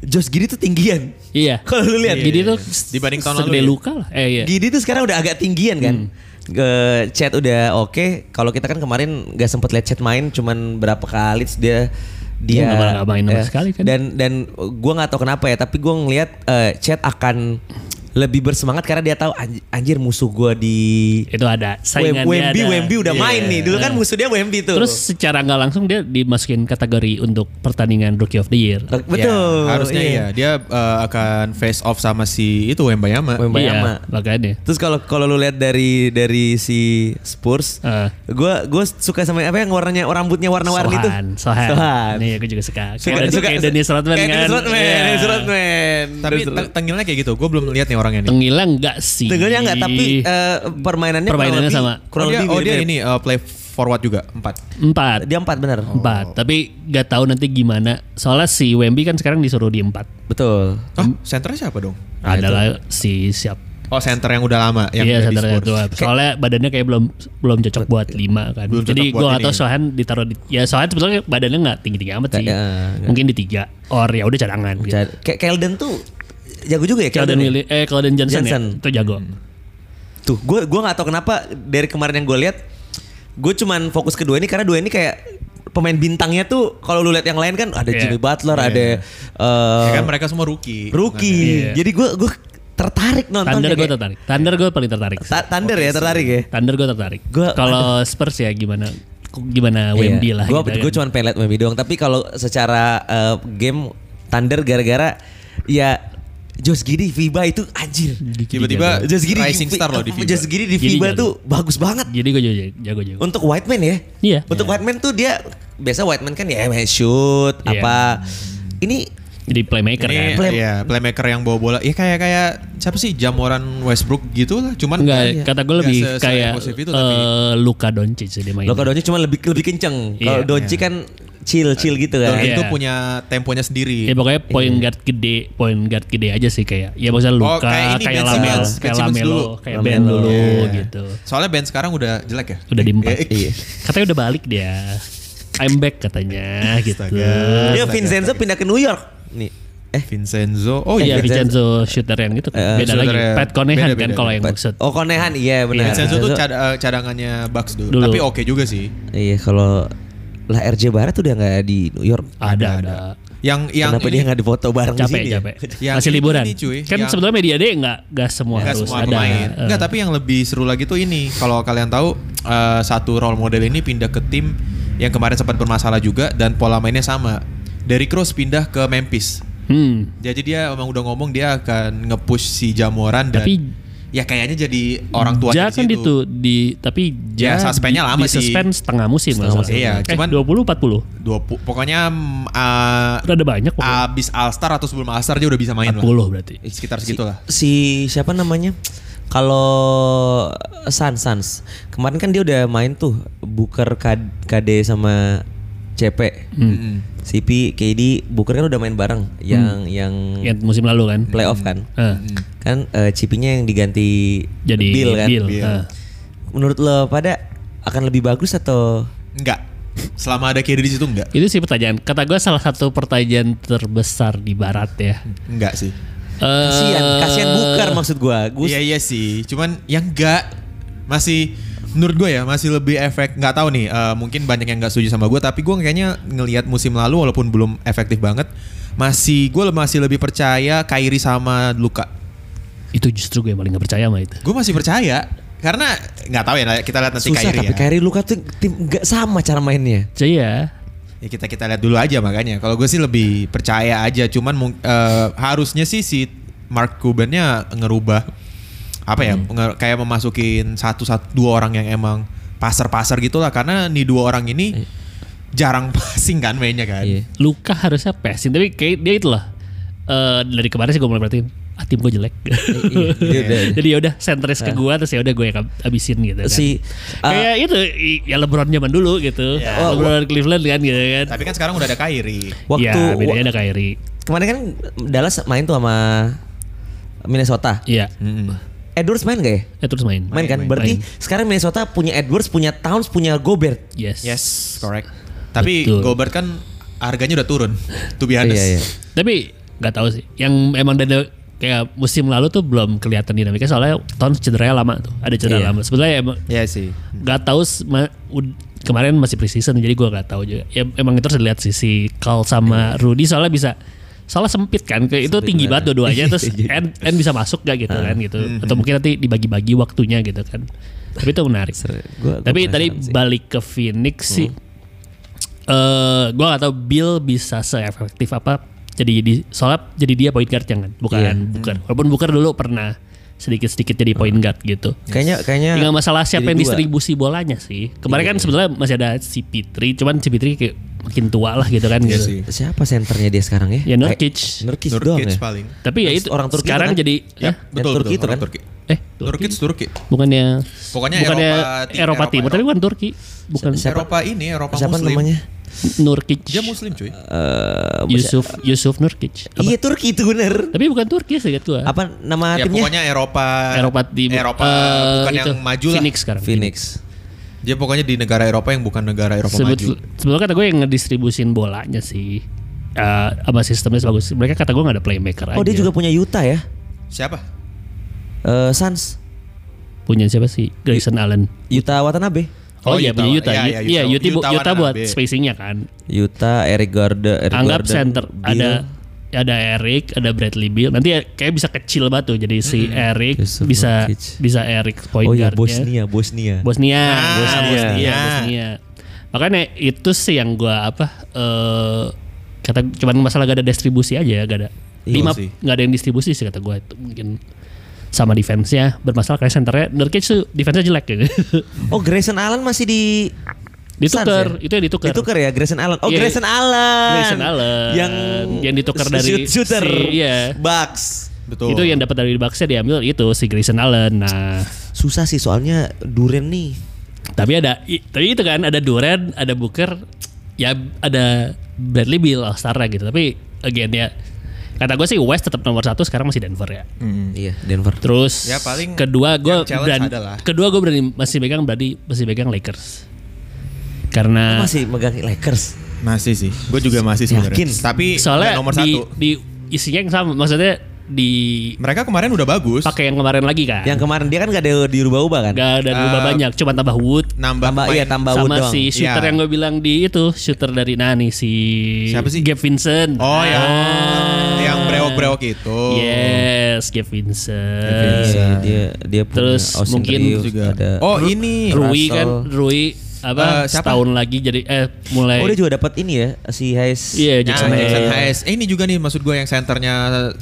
C: Josh Giddy tuh tinggian.
B: iya
C: Kalau lu lihat
B: Gidi tuh
A: Dibanding tahun
B: segede
A: lalu ya?
B: luka lah eh iya
C: Gidi tuh sekarang udah agak tinggian kan.
B: Hmm.
C: Ke chat udah oke. Kalau kita kan kemarin gak sempet lihat chat main, cuman berapa kali terus dia
B: Iya,
C: dia
B: nggak malah nggak main sama
C: eh,
B: sekali kan.
C: Dan dan gue nggak tahu kenapa ya, tapi gue ngelihat eh, chat akan lebih bersemangat karena dia tahu "Anj- anjir musuh gue di
B: itu ada saingannya
C: Wemby
B: ada.
C: Wemby udah
B: Iya.
C: main nih. Dulu kan musuh dia Wemby tuh.
B: terus secara nggak langsung dia dimasukin kategori untuk pertandingan Rookie of the Year
C: betul.
A: Ya, harusnya
C: iya.
A: ya. Dia eh, akan face off sama si itu Wembayama.
C: Wembayama.
B: iya makanya
C: Terus kalau kalau lu lihat dari dari si Spurs,
B: Eh.
C: gue gue suka sama apa yang warnanya rambutnya warna-warni tuh.
B: Sohan Sohan,
C: Sohan.
B: nih aku juga suka kayak kayak Dennis Rodman
C: kayak
B: kan
C: Dennis Rodman,
B: Iya.
C: Dennis Rodman.
A: Tapi
C: Dennis
A: te- tengilnya kayak gitu. Gue belum lihat nih orangnya nih.
B: Tenggilang enggak sih
C: Tegelnya enggak tapi eh, permainannya
B: Permainannya
C: kurang
B: sama.
C: lebih, kurang
A: Oh dia,
C: lebih
A: oh, dia
C: mirip-mirip.
A: ini eh, play forward juga empat.
B: empat
C: Dia empat benar.
B: empat tapi nggak tahu nanti gimana soalnya si Wemby kan sekarang disuruh di empat
C: Betul.
A: Oh,
B: Hmm?
A: senternya siapa dong?
C: Ah,
B: adalah si siap
A: Oh, center yang udah lama yang
B: iya
A: udah di
B: center
A: Spurs.
B: tua soalnya badannya kayak belum belum cocok buat lima kan
A: Belum
B: jadi
A: cocok buat
B: gue atau
A: ini.
B: Sohan ditaruh di ya Sohan sebetulnya badannya nggak tinggi tinggi amat sih
C: Nggak, ya, nggak.
B: mungkin di tiga or ya udah cadangan gitu.
C: Jadi- Kayak Keldon tuh jago juga ya
B: Keldon
C: ya?
B: Willi eh Keldon Johnson,
C: Johnson. Hmm.
B: ya itu jago
C: Tuh, gue gua nggak tahu kenapa dari kemarin yang gue lihat, gue cuman fokus kedua ini karena dua ini kayak pemain bintangnya tuh kalau lu lihat yang lain kan ada
B: Iya.
C: Jimmy Butler,
A: Iya.
C: ada eh,
B: Oh.
A: Ya kan mereka semua rookie.
C: rookie.
B: Iya.
C: Jadi gue gue tertarik nonton.
B: Thunder gue tertarik Thunder gue paling tertarik sih.
C: Ta- Thunder ya tertarik ya.
B: Thunder gue tertarik
C: Gua-
B: kalau Spurs ya gimana gimana
C: Iya.
B: Wemby lah
C: Gue
B: gitu kan.
C: cuma pengen liat Wemby doang. Tapi kalau secara eh, game Thunder gara-gara ya Josh Giddy FIBA itu anjir.
A: Tiba-tiba
C: Josh Giddy
A: rising
C: di-
A: star loh di FIBA.
C: Josh Giddy di
B: Iya, Giddy
C: FIBA
B: jago.
C: tuh bagus banget.
B: jadi gue jago jago jago
C: Untuk white man ya.
B: Iya.
C: Untuk white man tuh dia biasa white man kan ya main shoot
B: Iya.
C: apa. Ini
B: jadi playmaker kan
A: Ini
C: Play-
A: ya, playmaker yang bawa bola. Ya kayak kayak siapa sih Jamoran Westbrook gitu lah. Cuman
B: Enggak,
A: nggak-
B: kata gue
A: nggak
B: lebih
A: se-
B: kayak
A: se-emotif itu,
B: eh,
A: tapi
B: Luka Doncic sih dia main.
C: Luka Doncic cuma lebih lebih kenceng. Kalau
B: Iya.
C: Doncic kan chill-chill gitu
A: Dan
C: kan.
B: Iya.
A: itu punya temponya sendiri.
B: Ya pokoknya point guard gede, point guard gede aja sih kayak. Ya maksudnya
A: Oh,
B: Luka,
A: kayak
B: kayak,
A: ini Ben
B: Lamelo,
A: Simmons, Ben
B: kayak
A: Simmons
B: Lamelo,
A: dulu.
B: kayak
C: Lamelo.
B: Ben dulu
A: Iya.
B: gitu.
A: Soalnya band sekarang udah jelek ya?
B: Udah di empat.
A: Eh,
C: Iya.
B: Katanya udah balik dia. I'm back katanya gitu.
A: Astaga. Iya,
C: Dia
A: Astaga,
C: Vincenzo pindah ke New York. Nih. Eh
A: Vincenzo. Oh
B: Iya
A: iya.
B: Vincenzo Shooterian gitu.
C: Eh,
B: beda lagi.
A: Shooterian.
B: Pat Conehan
A: Beda,
B: kan
A: beda,
B: kalau
A: beda.
B: yang maksud.
C: Oh Konehan iya benar.
A: Vincenzo tuh cad- eh, cadangannya Bucks dulu.
B: Dulu.
A: Tapi oke juga sih.
C: Iya kalau lah RJ Barat udah nggak di New York.
B: Ada ada.
A: Yang yang
C: Kenapa
A: ini-
C: dia nggak difoto bareng di
B: Ah, Capek
C: sini?
B: capek.
A: Yang
B: Masih
A: ini
B: liburan.
A: nih, cuy,
B: Kan
A: yang-
B: sebelumnya media day nggak nggak semua
A: Nggak
B: harus
A: semua
B: ada.
A: pemain.
B: Eh,
A: Enggak, tapi yang lebih seru lagi tuh ini. Kalau kalian tahu eh, satu role model ini pindah ke tim yang kemarin sempat bermasalah juga dan pola mainnya sama. Derrick Rose pindah ke Memphis.
B: hmm.
A: Jadi dia emang udah ngomong dia akan nge-push si Jamoran dan
B: Tapi-
A: ya kayaknya jadi orang tua
B: Ja
A: di
B: kan
A: situ.
B: itu di tapi
A: Ya,
B: Ja
A: suspendnya lama
B: di
A: sih.
B: suspend setengah musim
C: Setengah
B: masalah.
A: musim. Iya,
B: eh,
A: cuman-
B: 20 40.
A: 20 pokoknya mm, ah, iya,
B: Rada banyak pokoknya.
A: abis All Star atau sebelum All Star dia udah bisa main
B: 40
A: lah.
B: berarti.
A: Sekitar segitulah.
C: Si siapa namanya? Kalau Sans Sans kemarin kan dia udah main tuh Booker K- KD sama CP.
A: Mm-mm.
C: CP KD Booker kan udah main bareng yang yang
B: Ya, musim lalu kan.
A: Iya.
C: playoff kan.
B: Heeh.
C: Kan eh, CP-nya yang diganti
B: Jadi
C: Bill kan.
B: Bill. Ah.
A: Bill.
B: Heeh.
C: Menurut lo pada akan lebih bagus atau
A: Enggak. Selama ada KD di situ enggak?
B: Itu sih pertanyaan. Kata gue salah satu pertanyaan terbesar di barat ya.
A: Enggak sih.
C: kasihan kasihan Booker maksud gua. Gua
A: Iya iya sih, cuman yang enggak masih menurut gue ya masih lebih efek nggak tahu nih eh, mungkin banyak yang nggak setuju sama gue tapi gue kayaknya ngelihat musim lalu walaupun belum efektif banget masih gue masih lebih percaya Kairi sama Luka
B: Itu justru gue yang paling gak percaya sama itu.
A: gue masih percaya karena nggak tahu ya kita lihat nanti
C: susah
A: Kairi
C: tapi
A: ya.
C: Kyrie Luka tuh tim nggak sama cara mainnya.
B: Jadi ya.
A: ya kita kita lihat dulu aja makanya kalau gue sih lebih percaya aja cuman mung- eh, harusnya sih si Mark Cubannya ngerubah apa ya nge- kayak memasukin satu satu dua orang yang emang pasar pasar gitulah karena nih dua orang ini jarang passing kan mainnya kan.
C: Iya.
B: Luka harusnya passing tapi kayak dia itu lah. Eh, dari kemarin sih gue mulai perhatiin ah, tim gue jelek.
C: iya, dia udah-
B: Jadi ya udah sentris
A: Iya.
B: ke gue terus ya udah gue yang abisin gitu kan.
C: Si eh,
B: kayak itu i- ya LeBron zaman dulu gitu.
A: Ya.
B: LeBron Cleveland kan gitu kan.
A: Tapi kan sekarang udah ada Kyrie.
C: waktu
A: Iya,
B: ya, bedanya ada Kyrie.
C: kemarin kan Dallas main tuh sama Minnesota.
B: Iya.
C: Edwards main gak ya?
B: Ya terus main.
C: Main, kan?
A: main,
C: Berarti
B: main.
C: sekarang Minnesota punya Edwards, punya Towns, punya Gobert.
B: Yes.
A: Yes, correct. Tapi
B: Betul.
A: Gobert kan harganya udah turun. To be honest.
C: Iya, iya.
B: Tapi nggak tahu sih. Yang emang dari kayak musim lalu tuh belum kelihatan dinamiknya soalnya tahun cederanya lama tuh. Ada cedera
C: Iya.
B: lama. Sebenarnya emang
A: Iya sih.
B: nggak tahu s- ma- ud- kemarin masih preseason jadi gua nggak tahu juga. Ya, emang itu harus dilihat sisi Carl sama
C: Iya.
B: Rudy soalnya bisa soalnya sempit kan kayak itu tinggi banget dua-duanya
C: Iya,
B: terus N, N bisa masuk gak
C: Ah.
B: gitu kan gitu
C: Hmm.
B: atau mungkin nanti dibagi-bagi waktunya gitu kan tapi itu menarik
C: Gua- gua
B: tapi tadi
C: penasaran sih. Hmm.
B: balik ke Phoenix sih eh gua gak tahu Bill bisa seefektif apa jadi di soalnya jadi dia point guard jangan bukan
C: Iya.
B: bukan walaupun Booker dulu pernah sedikit-sedikit jadi point
C: Hmm.
B: guard gitu
C: Kayaknya kayaknya
B: Tinggal masalah siapa
C: Iya. jadi
B: yang
C: dua.
B: distribusi bolanya sih. Kemarin kan sebetulnya masih ada CP3, cuman CP3 kayak makin tua lah gitu kan
A: Iya
B: gitu.
A: sih.
C: Siapa senternya dia sekarang
B: Ya
C: ya?
B: Nurkic.
C: Kayak- Nurkic doang
A: Nurkic
C: ya.
A: paling.
B: Tapi ya itu
C: Orang Turki
B: sekarang
C: kan?
B: jadi ya,
A: Yap, betul,
C: Turki
A: betul,
C: itu
A: orang
C: kan?
A: Turki.
B: eh Turki.
A: Turki itu Turki.
B: Bukannya
A: Pokoknya
B: bukannya
A: Eropa
B: Eropa,
A: Timur, Eropa-
B: Timur, tapi bukan Turki. Bukan
C: Siapa-
A: Eropa ini Eropa
C: Siapa
A: Muslim.
C: namanya?
B: Nurkic.
A: Dia Muslim cuy.
C: Eh,
B: Yusuf Yusuf Nurkic. Apa?
C: iya Turki itu bener.
B: Tapi bukan Turki sih gua.
C: Apa nama
A: ya
C: Ah, timnya?
A: pokoknya Eropa.
B: Eropa Timur.
A: Eropa
B: eh,
A: bukan
B: itu,
A: yang maju lah.
B: Phoenix sekarang.
C: Phoenix.
A: Dia pokoknya di negara Eropa yang bukan negara Eropa
B: Sebetul,
A: maju.
B: sebetulnya kata gue yang ngedistribusin bolanya sih. Eh, sama sistemnya bagus. Mereka kata gue gak ada playmaker
C: Oh dia
B: aja.
C: juga punya Utah ya?
A: Siapa?
C: Eh Suns.
B: punya siapa sih Grayson Allen
C: Utah Watanabe.
A: Oh,
B: Oh, iya
A: Utah.
B: punya Utah.
A: Iya,
B: Iya,
A: iya, Utah.
B: Utah, bu-
A: Utah
B: Utah buat
A: Watanabe.
B: spacingnya kan.
C: Utah Eric Gordon. Eric
B: Anggap
C: Gordon,
B: center
C: Beal.
B: ada ada Eric, ada Bradley Beal. Nanti ya kayak bisa kecil banget tuh. Jadi si Eric
C: Yusuf
B: bisa
C: Nurkic.
B: bisa Eric point
C: Oh iya
B: guardnya.
C: Bosnia, Bosnia.
B: Bosnia.
A: Ah,
B: Bosnia.
A: Bosnia.
B: Iya, Bosnia. Makanya itu sih yang gua apa eh kata cuman masalah gak ada distribusi aja ya, gak ada
A: Iya
B: lima
A: sih.
B: gak ada yang distribusi sih kata gua itu mungkin sama defense-nya bermasalah kayak centernya Nurkic tuh defense-nya jelek gitu.
C: Oh Grayson Allen masih di
B: ditukar,
C: Suns
B: itu yang ditukar.
C: Ditukar ya Grayson Allen. Oh
B: Iya.
C: Grayson Allen.
B: Grayson Allen.
C: Yang
B: Yang ditukar dari
C: shoot- shooter.
B: si- iya.
C: Bucks.
A: Betul.
B: Itu ya. yang dapat dari Bucks diambil itu si Grayson Allen. Nah,
C: Susah sih soalnya Duren nih.
B: tapi ada i- tapi itu kan ada Durant, ada Booker, ya ada Bradley Beal all star gitu. Tapi again ya kata gue sih West tetap nomor satu sekarang masih Denver ya.
C: Iya Denver.
B: Terus
A: Hmm. Ya, paling
B: kedua gue
A: yang challenge
B: berani,
A: adalah-
B: kedua gue berani masih pegang berarti masih pegang Lakers karena
C: Masih megang Lakers.
A: Masih sih. Gue juga masih sebenarnya.
C: Yakin?
A: Tapi
B: soalnya
A: nggak nomor
B: di,
A: satu.
B: di isinya yang sama maksudnya di
A: Mereka kemarin udah bagus.
B: pakai yang kemarin lagi kan
C: Yang kemarin dia kan gak ada diubah-ubah kan?
B: Gak ada berubah
A: Eh,
B: banyak, cuma tambah Wood
A: Nambah,
C: Tambah
A: pemain.
C: iya tambah wood
B: sama
C: doang.
B: si shooter
A: Iya.
B: yang gue bilang di itu shooter dari Nani si
A: Siapa sih?
B: Gabe Vincent.
A: Oh ya.
B: Ah.
A: Yang brewok-brewok itu.
B: Yes, Gabe
C: Iya,
B: Vincent.
C: iya, dia dia punya
B: Terus
C: Austin
B: mungkin
C: Reeves,
A: Juga.
C: ada
A: Oh ini.
B: Rui
C: Russell.
B: kan, Rui
A: Eh,
B: apa
A: siapa?
B: setahun lagi jadi eh mulai
C: Oh dia juga dapat ini ya si Hayes.
B: Iya,
A: Nah,
B: Jackson
A: Jackson
B: Hayes.
A: Hayes. Eh, ini juga nih maksud gue yang senternya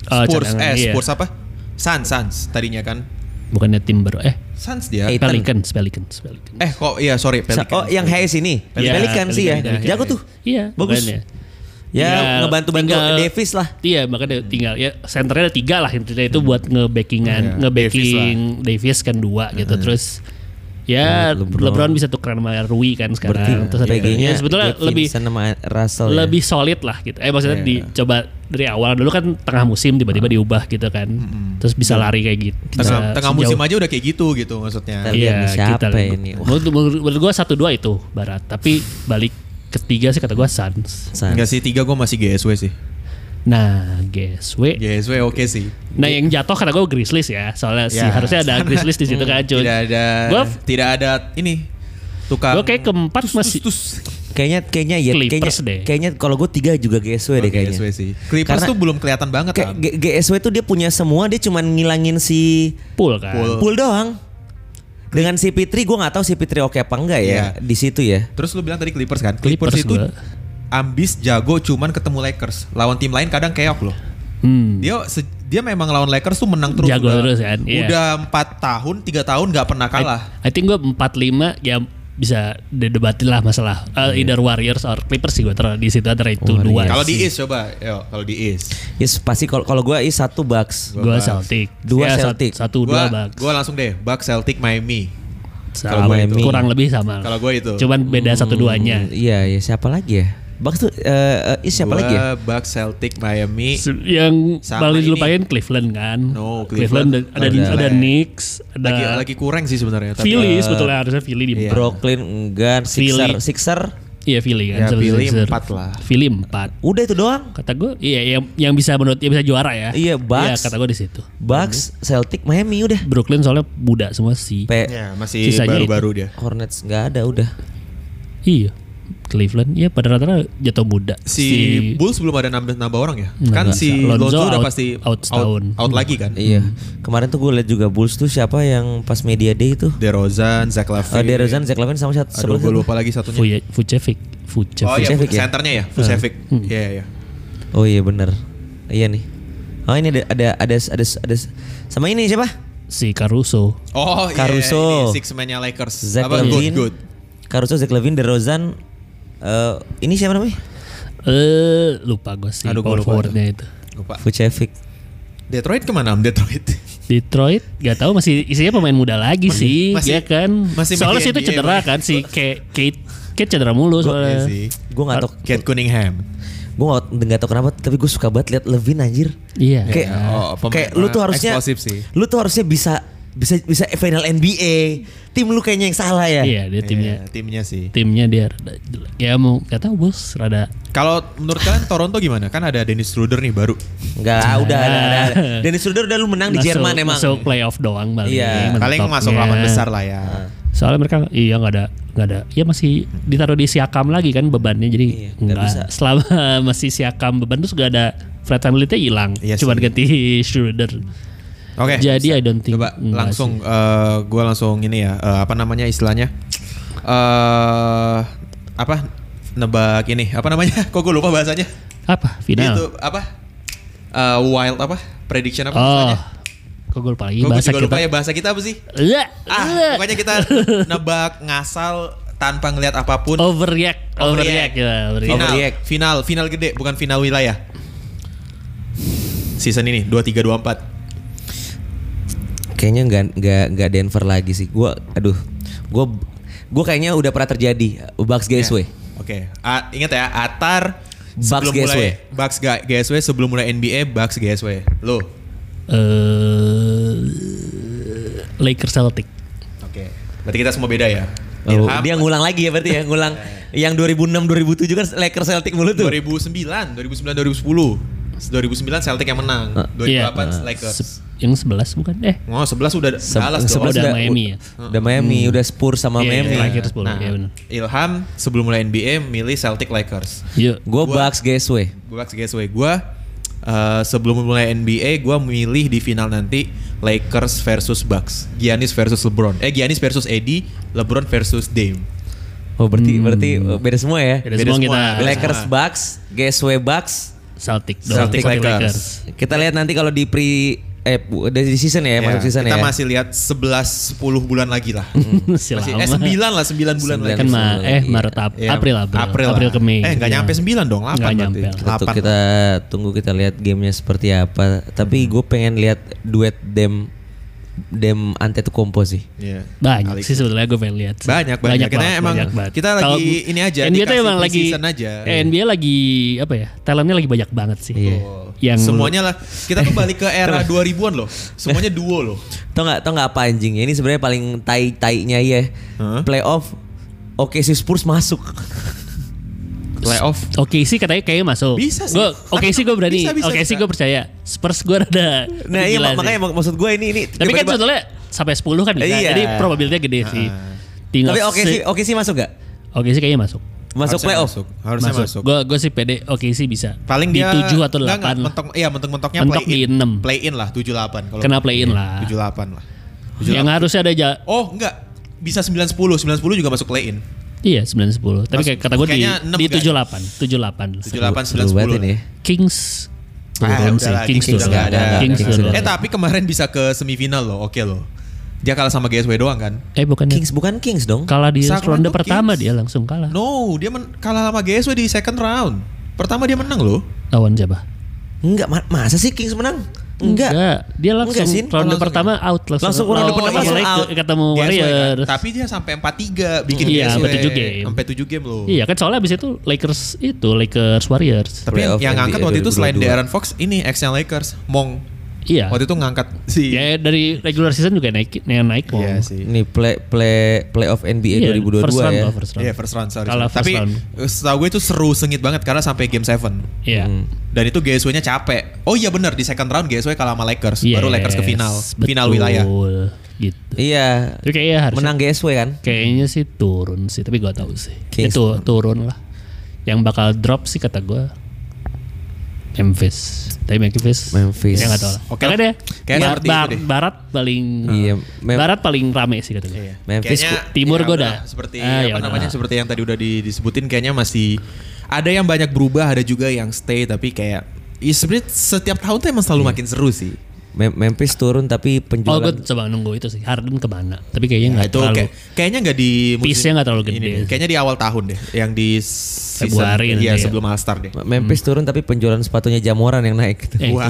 B: Oh,
A: Spurs.
B: cadangan,
A: eh
B: iya.
A: Spurs apa? Suns, Suns tadinya kan.
B: bukannya tim baru eh
A: Suns dia.
C: Eight. Pelican.
B: Pelicans, Pelicans, Pelicans.
A: Eh kok iya sorry
C: Sa-
A: Pelican.
C: Oh yang Hayes ini.
B: Iya,
C: Pelikan sih ya.
B: Pelican, Pelican.
C: Jago tuh.
B: Iya,
C: Bagus.
B: bukannya.
C: Ya
B: Tinggal-
C: ngebantu-bantu
B: Iya, tinggal-
C: Davis lah.
B: Iya makanya tinggal ya senternya ada tiga lah intinya itu buat
A: Iya,
B: ngebackingan ngebacking Davis, kan dua gitu terus ya
C: Nah,
B: LeBron.
C: LeBron.
B: bisa tukar sama Rui kan
C: Berarti
B: sekarang terus ada
C: PG-nya
B: ya, sebetulnya
C: Gabe
B: lebih
C: Vincent sama Russell. ya.
B: lebih solid lah gitu eh
A: Iya.
B: maksudnya dicoba dari awal dulu kan tengah musim tiba-tiba diubah gitu kan terus
C: Iya.
B: bisa lari kayak gitu
A: Ah. tengah,
B: bisa
A: tengah
B: sejauh-
A: musim aja udah kayak gitu gitu maksudnya.
C: Kita lihat
B: Iya,
C: nih siapa
B: kita lihat.
C: ini. Wah.
B: Menurut, menurut- menurut gua satu dua itu barat, tapi balik ketiga sih kata gua Suns.
C: Suns.
A: Enggak sih tiga gue masih GSW sih.
B: Nah, GSW
A: GSW oke sih.
B: Nah yang jatuh karena gue Grizzlies ya, soalnya sih
A: Ya. Hmm, iya,
B: harusnya ada Grizzlies di situ kan cuy.
A: Tidak ada
B: Gua
A: tidak ada ini tukang.
B: gue kayak keempat masih
C: Kayaknya kayaknya ya kayaknya
B: Clippers deh. Oh,
C: kayaknya kalau gue tiga juga GSW deh kayaknya.
A: GSW sih. Clippers
C: Karena-
A: tuh belum kelihatan banget
C: Kayak
A: kan.
C: G- GSW tuh dia punya semua dia cuman ngilangin si
B: pool kan.
A: Pool.
C: pool doang. Dengan si Pitri gue nggak tahu si Pitri oke apa enggak ya
A: Iya.
C: di situ ya.
A: Terus lu bilang tadi Clippers kan? Clippers,
B: Clippers
A: itu
B: gua.
A: ambis jago cuman ketemu Lakers. Lawan tim lain kadang keok loh.
B: Hmm.
A: Dia se- dia memang lawan Lakers tuh menang terus.
B: Jago
A: udah,
B: terus kan, iya.
A: Udah 4 tahun, 3 tahun nggak pernah kalah.
B: I think gue empat lima ya bisa didebatin lah masalah uh,
A: Hmm.
B: either Warriors or Clippers sih gue taruh di situ antara itu
A: Oh,
B: dua.
A: iya Kalau di East coba, yo kalau di East.
C: Yes, pasti kalau kalau gue is satu Bucks.
B: gue Celtic,
C: Dua
B: Ya, sat-
C: Celtic.
B: satu dua
A: gua,
B: Bucks.
A: gua langsung deh Bucks Celtic Miami.
B: Sama, ya,
C: kalau Miami.
B: kurang lebih sama.
A: Kalau gue itu. Hmm.
B: Cuman beda satu duanya.
C: Iya, iya siapa lagi ya? Bucks tuh eh, eh, is siapa
A: Gua
C: lagi ya?
A: Bucks Celtic Miami.
B: Se- yang
A: Sama ini.
B: paling dilupain Cleveland kan.
A: No,
B: Cleveland,
A: Cleveland
B: ada ada,
A: udah.
B: ada Knicks, ada
A: Lagi
C: Ah.
A: lagi kurang sih sebenarnya tapi eh,
B: Philly sebetulnya harusnya Philly di
A: Iya.
B: Bro.
C: Brooklyn enggak, Sixer,
B: Philly.
C: Sixer.
B: Iya Philly kan.
A: Ya,
B: sama
A: Philly
B: Sixers.
A: empat lah.
B: Philly empat.
C: Udah itu doang.
B: Kata gue iya yang yang bisa menurut yang bisa juara ya.
C: Iya,
B: Iya
C: Bucks.
B: kata gue di situ.
C: Bucks,
A: Hmm.
C: Celtic, Miami udah.
B: Brooklyn soalnya budak semua sih.
C: P
A: Ya, masih
B: Sisanya
A: baru-baru dia.
C: Hornets nggak ada udah.
B: iya. Cleveland ya pada rata-rata jatuh muda.
A: Si, Bulls belum ada nambah nambah orang ya?
B: Nggak,
A: kan
B: nggak.
A: si
B: Lonzo
A: Lonzo, udah
B: out-
A: pasti
B: out setahun.
A: out lagi kan?
C: Iya. Kemarin tuh gue liat juga Bulls tuh siapa yang pas media day itu?
A: DeRozan, Zach Lavine.
C: Eh, DeRozan, Zach Lavin sama satu
A: Aduh, gue
C: sebelumnya.
A: lupa lagi satunya.
B: Vuj- Vucevic,
A: Oh
B: Vucevic.
A: iya,
C: Vucevic ya? Hmm.
A: senternya ya, Vucevic. Iya, iya.
C: Oh iya bener. Iya nih. Oh ini ada ada ada ada, ada sama ini siapa?
B: Si Caruso.
A: Oh, iya,
C: Caruso.
A: ini six man-nya Lakers.
C: Zach
A: Apa good
C: Lavin.
A: good.
C: Caruso, Zach Lavin, DeRozan. Eh ini siapa namanya?
B: Eh lupa gue sih
A: Aduh, gua
B: power
A: lupa
B: forwardnya itu.
A: Lupa.
C: Vucevic.
A: Detroit kemana? Am Detroit.
B: Detroit gak tahu masih isinya pemain muda lagi sih
A: masih-
B: ya kan
A: masih
B: soalnya
A: masih
B: sih itu
A: NBA,
B: cedera
A: masih-
B: kan si Kate Kate Kate cedera mulu
A: Iya
B: soalnya
A: sih.
C: Gue nggak tau.
A: Kate Cunningham.
C: Gue nggak tau kenapa, tapi gue suka banget liat Levin anjir.
B: iya
C: Kayak,
A: Oh, pemain-
C: kayak lu tuh harusnya,
A: eksplosif sih.
C: lu tuh harusnya bisa bisa bisa final NBA. Tim lu kayaknya yang salah ya.
B: iya dia timnya
A: Iya, timnya sih.
B: timnya dia rada jelek ya mau gak tahu bos rada
A: Kalau menurut kalian Toronto gimana? Kan ada Dennis Schroeder nih baru.
C: Enggak, udah, udah, udah. Dennis Schroeder udah lu menang di
B: Nah. masuk-
C: Jerman emang.
B: masuk playoff doang balik
C: Iya,
A: Paling masuk lawan besar lah ya.
B: soalnya mereka iya nggak ada nggak ada ya masih ditaruh di siakam lagi kan bebannya jadi
C: Iya, nggak
B: nggak
C: bisa.
B: selama masih siakam beban terus gak ada Fred VanVleet-nya hilang
A: Iya
B: cuman
A: sih.
B: ganti Schroeder
A: Oke.
B: jadi hmm, I don't think
A: Coba
B: nggak sih.
A: langsung eh, gua langsung ini ya, eh, apa namanya istilahnya? Eh apa nebak ini apa namanya? Kok gue lupa bahasanya?
B: apa final
A: Itu apa? Eh, wild apa? Prediction apa
B: Oh,
A: istilahnya?
B: kok gue lupa lagi
A: Gua
B: bahasa
A: juga lupa
B: kita. Iya,
A: ya bahasa kita apa sih?
B: Le, le.
A: Ah, pokoknya kita nebak ngasal tanpa ngelihat
B: Oh,
A: apapun.
B: overreact, overreact,
A: Overreact.
B: ya, overreact.
A: Final,
C: Overreact.
A: final, final gede, bukan final wilayah. Season ini 23 24.
C: Kayaknya nggak nggak nggak Denver lagi sih. Gua aduh, gua gua kayaknya udah pernah terjadi Bucks
A: Oke.
B: Iya.
C: Gateway.
A: A- ingat ya, Atar
C: Bucks
A: sebelum
C: GSW.
A: mulai Bucks ga- GSW sebelum mulai NBA Bucks GSW. Lo.
B: Eh, Lakers Celtic.
A: Oke. Berarti kita semua beda ya.
B: Iya.
C: Oh,
A: Ilham,
C: dia ngulang lagi ya berarti ya, ngulang yang 2006 2007 kan Lakers Celtic mulu tuh.
A: 2009, 2009 2010. 2009 Celtic yang menang,
C: Ah,
A: 2008
B: Iya.
C: Nah,
A: Lakers.
B: Se- yang 11 bukan? Eh,
A: Oh, 11 udah Dallas dong.
B: sebelas
A: Oh,
B: udah Miami ya?
C: Udah Miami, udah Spurs sama
B: Iya,
C: Miami.
B: iya, Lakers boleh, iya benar.
A: Nah, Ilham sebelum mulai NBA milih Celtic Lakers.
B: Yuk.
C: Gua Bucks Gateway.
A: Gue Bucks Gateway. Gue eh, sebelum mulai NBA gue milih di final nanti Lakers versus Bucks, Giannis versus LeBron. Eh Giannis versus AD, LeBron versus Dame.
C: Oh berarti berarti uh, beda semua ya.
B: Hmm. Beda semua kita.
A: semua. Beda
C: Lakers
A: semua.
C: Bucks, Gateway Bucks.
B: Celtic,
A: Celtic
B: dong.
A: Lakers.
C: Kita lihat nanti kalau di pre eh bu- udah di season ya, masuk season
A: Iya, kita
C: ya.
A: masih lihat 11 10 bulan lagi lah.
B: Masih
A: masih
B: lama.
A: eh 9 lah 9 bulan
C: Sembilan.
A: lagi.
B: Kan ma eh
C: Iya.
B: Maret Ap-
A: Iya,
B: April, April
A: April, lah.
B: ke Mei.
A: Eh nggak
B: Iya.
A: nyampe 9 dong, 8
B: Nggak
A: berarti.
B: nyampe.
C: Kita, tu- kita tunggu kita lihat gamenya seperti apa. Tapi gue pengen lihat duet Dem Dem Antetokounmpo sih.
A: Iya.
B: Banyak
A: Alex.
B: sih sebenarnya gue pengen lihat. sih.
A: Banyak, banyak. Karena
B: banget,
A: emang kita lagi
B: Kalau
A: ini aja,
B: NBA tuh
A: dikasih
B: emang lagi
A: pre-season aja.
B: eh, NBA lagi apa ya? Talentnya lagi banyak banget sih.
C: Iya.
B: Yang
A: semuanya lah kita kembali ke era 2000-an loh. Semuanya duo loh.
C: Tau nggak tau nggak apa anjingnya ini sebenarnya paling tai tainya ya
A: Hah?
C: playoff. Oke si Spurs masuk.
A: Playoff
B: Oke sih katanya kayaknya masuk.
A: Bisa sih.
B: Gua- Oke sih gue berani.
A: Bisa, bisa,
B: Oke
A: bisa.
B: sih gue percaya. Spurs gue rada.
C: Nah iya
B: gila
C: mak- makanya
B: sih.
C: mak- maksud gue ini ini.
B: Tapi kan
C: tiba-tiba-
B: sebetulnya sampai 10 kan bisa.
C: Iya.
B: Jadi probabilitasnya gede sih. Tinggal
C: Tapi oke sih oke sih masuk gak?
B: Oke sih kayaknya masuk.
C: Masuk
A: Harusnya
C: playoff.
A: Masuk. Harusnya masuk.
B: Gue gue sih pede. Oke sih bisa.
A: Paling
B: di
A: dia
B: 7
A: enggak,
B: atau 8
A: enggak,
B: lah.
A: mentok, Iya, mentok-mentoknya
B: Mentok
A: play
B: di
A: in.
B: enam.
A: Play in lah 78 kalau.
B: Kena play in lah.
A: 78 lah. 78.
B: Yang harusnya ada ja
A: Oh, enggak. Bisa 910, 910 juga masuk play in.
B: Iya 9 10. Tapi
A: Mas-
B: kayak kata gue di
A: kayaknya enam
B: di
A: nggak?
B: 78, 78.
A: 78
C: Seru banget
A: 910.
C: ini ya.
B: Kings
A: Ah,
B: belum
A: udah
B: sih.
A: lah,
B: Kings
A: Kings
B: dulu.
A: udah nggak ada.
B: Kings
C: Kings
B: dulu.
C: udah.
A: Eh, tapi kemarin bisa ke semifinal loh. Oke loh. Dia kalah sama GSW doang kan?
B: Eh bukan
C: Kings bukan Kings dong.
B: kalah di
A: Sacramento
B: ronde pertama
A: Kings.
B: dia langsung kalah.
A: No, dia men- kalah sama GSW di second round. Pertama dia menang loh.
B: Lawan siapa?
C: Enggak, ma- masa sih Kings menang? Enggak.
B: Dia langsung
C: Enggak, Sin.
B: ronde
A: Langsung
B: pertama out langsung.
C: Langsung ronde
B: Lawan
C: pertama langsung
B: Emelec
C: out.
B: ketemu
A: GSW kan.
B: Warriors.
A: Tapi dia sampai 4-3 bikin
B: Iya,
A: GSW.
B: sampai tujuh game.
A: Sampai 7 game loh.
B: Iya kan soalnya abis itu Lakers itu Lakers Warriors.
A: Tapi yang,
C: Playoff
A: yang ngangkat
C: NBA
A: waktu itu selain
C: 2022.
A: Darren Fox, ini ex-nya Lakers, Mong.
B: Iya.
A: Waktu itu ngangkat si
B: Ya dari regular season juga naik yang naik kok.
A: Iya sih.
C: Ini play play playoff NBA
B: Iya,
C: 2022
B: first round
C: ya.
B: loh, first round.
A: Iya, first round sorry.
B: Kalah first
A: Tapi
B: round.
A: eh, setahu gue itu seru sengit banget karena sampai game 7.
B: Iya.
C: Hmm.
A: Dan itu GSW-nya capek. Oh iya bener di second round GSW kalah sama Lakers, baru Lakers ke
B: Iya. Yes,
A: final, final
B: betul.
A: wilayah.
B: Gitu.
C: Iya.
B: Itu kayaknya harus
C: Menang GSW kan?
B: Kayaknya sih turun sih, tapi gua tahu sih.
C: Kings.
B: Itu turun lah. Yang bakal drop sih kata gua Memphis. Tapi Memphis.
C: Memphis.
B: Ya nggak tahu lah.
A: Oke.
B: Makanya deh.
A: Kayaknya
B: bar-
A: seperti itu
B: bar-
A: deh.
B: barat paling
C: Iya, Mem-
B: Barat paling rame sih kata gua.
A: Iya.
C: Memphis
A: Kayaknya,
B: ku- timur
A: ya
B: gua
A: udah,
B: dah.
A: seperti
B: Ah, ya
A: apa
B: udah.
A: namanya seperti yang tadi udah di- disebutin kayaknya masih ada yang banyak berubah, ada juga yang stay tapi kayak ya sebenarnya setiap tahun tuh emang selalu
B: Iya.
A: makin seru sih.
C: Mem- Memphis turun tapi
B: Oh,
C: penjualan
B: gua coba nunggu itu sih. Harden kemana? Tapi kayaknya
A: Nah,
B: nggak
A: itu
B: terlalu.
A: kayak- kayaknya nggak di
B: Piece-nya nggak terlalu gede.
A: deh. kayaknya di awal tahun deh, yang di season-
B: Februari nanti
A: iya
B: ya.
A: sebelum All Star deh.
C: Memphis turun tapi penjualan sepatunya Jamoran yang naik.
B: Hmm. Eh,
A: Wah.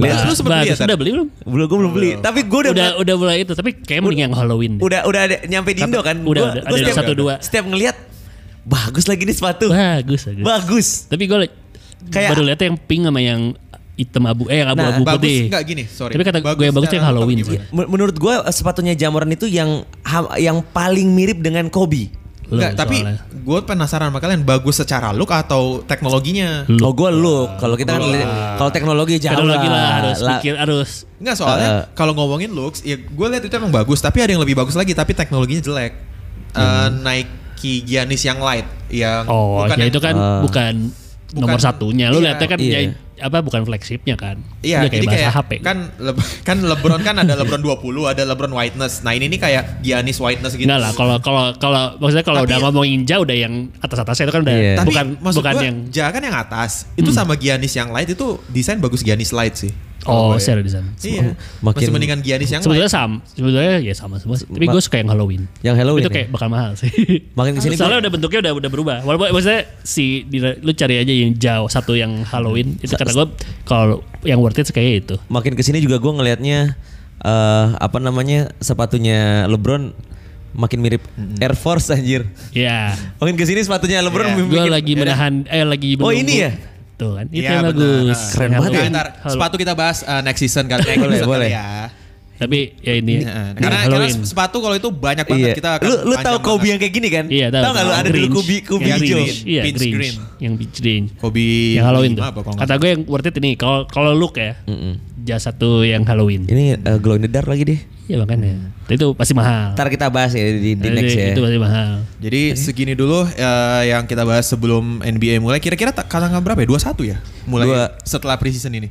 B: Ba-
A: Lihat lu sempet
B: bagus.
A: lihat.
B: Udah beli belum?
C: Belum gue belum beli, tapi gue
B: Oh. Udah
C: udah
B: udah, mulai itu, tapi kayak mending yang Halloween. deh.
C: udah udah ada, nyampe di Indo kan.
B: udah, udah, ada
C: setiap-
B: satu, dua.
C: Setiap ngelihat bagus lagi nih sepatu.
B: Bagus bagus.
C: Bagus.
B: Tapi gue
C: Kayak-
B: baru lihatnya yang pink sama yang hitam abu eh abu-abu
A: Nah, bagus
B: putih.
A: nggak gini, sorry.
B: Tapi kata gue yang bagus tuh yang
A: secara
B: Halloween
A: nonton
B: sih.
A: gimana?
C: Men- Menurut gue sepatunya Jamoran itu yang ha- yang paling mirip dengan Kobe.
B: Loh,
A: Nggak, tapi
B: soalnya.
A: gue penasaran sama kalian bagus secara look atau teknologinya?
B: Look.
C: Oh gue look. Kalau kita kan li- kalau teknologi jauh
B: teknologi lah harus
C: La-
B: pikir harus
A: Enggak soalnya
B: Eh.
A: kalau ngomongin looks, ya gue lihat itu emang bagus, tapi ada yang lebih bagus lagi, tapi teknologinya jelek. Eh, Nike Giannis yang light, yang
B: Hmm. oh ya
A: yang-
B: itu kan
C: Ah.
B: bukan
A: Bukan-
B: nomor satunya. Lu
A: Iya.
B: lihatnya kan
C: Iya.
B: ya- apa bukan flagshipnya kan?
A: Iya,
B: Udah
A: jadi
B: bahasa
A: kayak
B: HP.
A: kan Le- kan LeBron kan ada LeBron 20, ada LeBron whiteness. Nah, ini nih kayak Giannis whiteness gitu.
B: Enggak lah kalau kalau kalau maksudnya kalau
A: Tapi-
B: udah ngomongin jauh udah yang atas-atasnya itu kan udah
C: Iya.
A: tapi
B: bukan
A: maksud
B: bukan
A: gua,
B: yang Hmm.
A: Ja kan yang atas. Itu sama Giannis yang light itu desain bagus Giannis light sih. Kalau
B: oh,
A: gua ya.
B: secara desain.
A: Iya. Masih
C: Makin-
A: mendingan Giannis yang light.
B: Sebetulnya sama, sebetulnya ya sama semua. sih. Tapi
C: Ma-
B: gue suka yang Halloween.
C: Yang Halloween
B: itu
C: ya?
B: kayak bakal mahal sih.
C: Makin kesini
B: soalnya
C: gua-
B: udah bentuknya udah udah berubah. Walaupun maksudnya si di- lu cari aja yang jauh satu yang Halloween itu kata gue kalau yang worth it sih kayaknya itu.
C: makin kesini juga gue ngelihatnya eh apa namanya sepatunya LeBron makin mirip Air Force anjir.
B: Ya.
C: Makin kesini sepatunya
A: Iya.
C: LeBron makin-
B: Gue lagi menahan eh lagi
C: Oh,
B: menunggu.
C: ini ya?
B: Tuh kan. Itu
A: Iya,
B: yang
A: benar.
B: bagus.
C: Keren
B: Yang
C: banget ya.
B: Halloween.
A: Ntar,
B: Hal-
A: sepatu kita bahas uh, next season kali next
C: Boleh,
A: season
C: boleh.
A: kali ya.
B: Tapi ya ini
A: Iya, Karena, karena
B: Halloween.
A: sepatu kalau itu banyak banget
C: Iya.
A: kita akan
C: lu lu
A: panjang
C: tahu Kobe
A: banget.
C: yang kayak gini kan?
B: Iya,
C: tahu. nggak lu ada dulu
B: Grinch.
C: Kobe Kobe
B: yang
C: hijau. Iya,
B: Grinch. Iya,
A: Pinch
B: Grinch.
A: green.
B: Yang beach green.
A: Kobe
B: Yang Halloween tuh.
A: lima apa kalau nggak
B: Kata gue yang worth it ini kalau kalau look ya. Jasa tuh yang Halloween.
C: Ini eh, glow in the dark lagi deh.
B: Iya makanya. Itu pasti mahal.
C: Ntar kita bahas ya di, di
B: Jadi
C: next ya.
B: Itu pasti mahal.
A: Jadi segini dulu eh, yang kita bahas sebelum NBA mulai. Kira-kira ta- tanggal berapa ya? 21 ya? Mulai
C: Dua.
A: setelah preseason ini.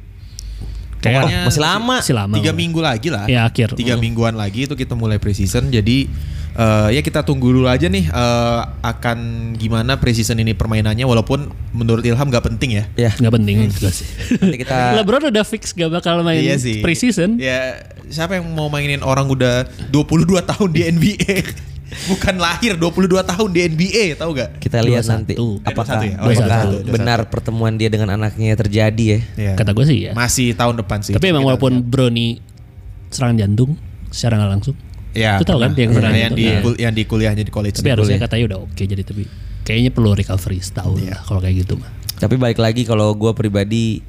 B: Kayak
A: Pokoknya
C: Oh, masih lama.
B: Masih lama.
A: Tiga minggu lagi lah.
B: Ya, akhir.
A: Tiga mingguan lagi itu kita mulai preseason. Jadi eh, ya kita tunggu dulu aja nih eh, akan gimana preseason ini permainannya. Walaupun menurut Ilham nggak penting ya.
C: Ya.
B: nggak penting juga sih.
C: Nanti kita Iya
B: LeBron udah fix gak bakal main preseason.
A: Iya Ya siapa yang mau mainin orang udah 22 tahun di NBA? Bukan lahir 22 tahun di NBA, tahu gak?
C: kita lihat nanti
B: 21.
C: apakah,
A: 21 ya? Oh,
C: apakah
A: 21, 21.
C: benar pertemuan dia dengan anaknya terjadi ya.
A: Iya.
B: Kata gue sih ya.
A: Masih tahun depan sih.
B: Tapi emang
A: Kita-
B: walaupun Brony serangan jantung secara nggak langsung.
A: Ya,
B: Itu tahu kan
A: pernah.
B: yang serangan
A: Iya, yang di
B: jantung. Iya.
A: kul- yang di kuliahnya di college.
B: Tapi harusnya katanya udah oke jadi tapi kayaknya perlu recovery setahun
C: Iya.
B: lah kalau kayak gitu mah.
C: Tapi balik lagi kalau gue pribadi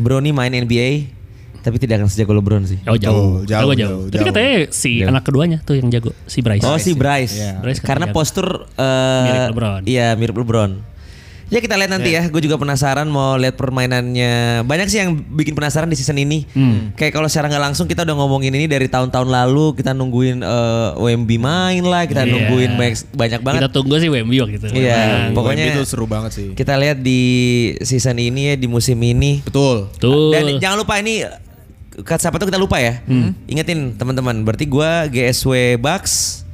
C: Brony main NBA tapi tidak akan sejago LeBron sih.
B: Oh jauh,
A: Betul, jauh,
B: jauh, jauh.
A: jauh,
B: Tapi
A: jauh.
B: katanya si
C: Jauh.
B: anak keduanya tuh yang jago, si Bryce.
C: Oh si Bryce.
A: Iya.
B: Bryce
C: Karena
B: katanya.
C: postur eh,
B: Mirip LeBron. Iya.
C: Iya, mirip LeBron. Ya kita lihat nanti ya. Gue juga penasaran mau lihat permainannya. Banyak sih yang bikin penasaran di season ini.
B: Hmm.
C: Kayak kalau secara nggak langsung kita udah ngomongin ini dari tahun-tahun lalu. Kita nungguin WMB main lah. Kita
B: Iya.
C: nungguin banyak, banyak banget.
B: Kita tunggu sih Wemby waktu itu.
C: Iya.
B: Nah,
C: Pokoknya
A: itu seru banget sih.
C: kita lihat di season ini ya di musim ini.
A: Betul.
B: Tuh.
C: Dan jangan lupa ini kata siapa tuh kita lupa ya.
B: Hmm.
C: Ingetin teman-teman. Berarti gue GSW Bucks,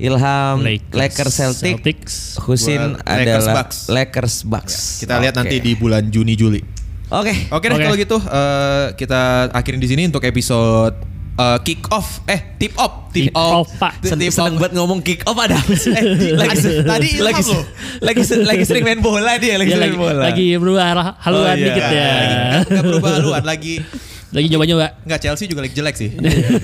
C: Ilham Lakers, Celtic,
B: Celtics.
C: Husin
A: Gua Lakers
C: adalah
A: Bucks. Ya,
C: Lakers Bucks.
A: Kita lihat
C: Oke.
A: nanti di Oh, bulan Juni Juli.
C: Oke.
A: Oke deh
B: Oke.
A: kalau gitu eh, kita akhirin di sini untuk episode eh, kick off eh tip off tip,
B: Tip off,
A: Tip
B: Pak.
C: Seneng,
A: off.
C: seneng banget ngomong kick off ada apa sih?
A: Eh, lagi- tadi ilham
C: lagi,
A: loh.
C: lagi lagi sering main bola dia lagi
B: Dia Iya,
C: sering
B: lagi,
C: main bola.
B: lagi berubah haluan
C: iya.
B: dikit ya.
A: Lagi- Oh, nggak berubah haluan lagi
B: Lagi nyoba-nyoba.
A: nggak Chelsea juga lagi jelek sih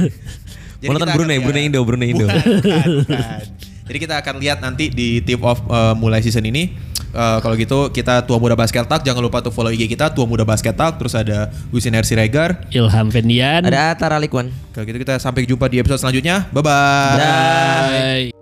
A: Jadi
C: Mau nonton
A: kita akan
C: Brunei,
A: lihat.
C: Brunei Indo, Brunei Indo.
A: Bukan, bukan, bukan. Jadi kita akan lihat nanti di tip off eh, mulai season ini. Eh, kalau gitu kita Tua Muda Basket Talk. Jangan lupa tuh follow IG kita Tua Muda Basket Talk. Terus ada Wisinar Siregar.
B: Ilham Fendian.
C: Ada Tara Likwan.
A: Kalau gitu kita sampai jumpa di episode selanjutnya. Bye-bye.
C: Dah.
B: Bye.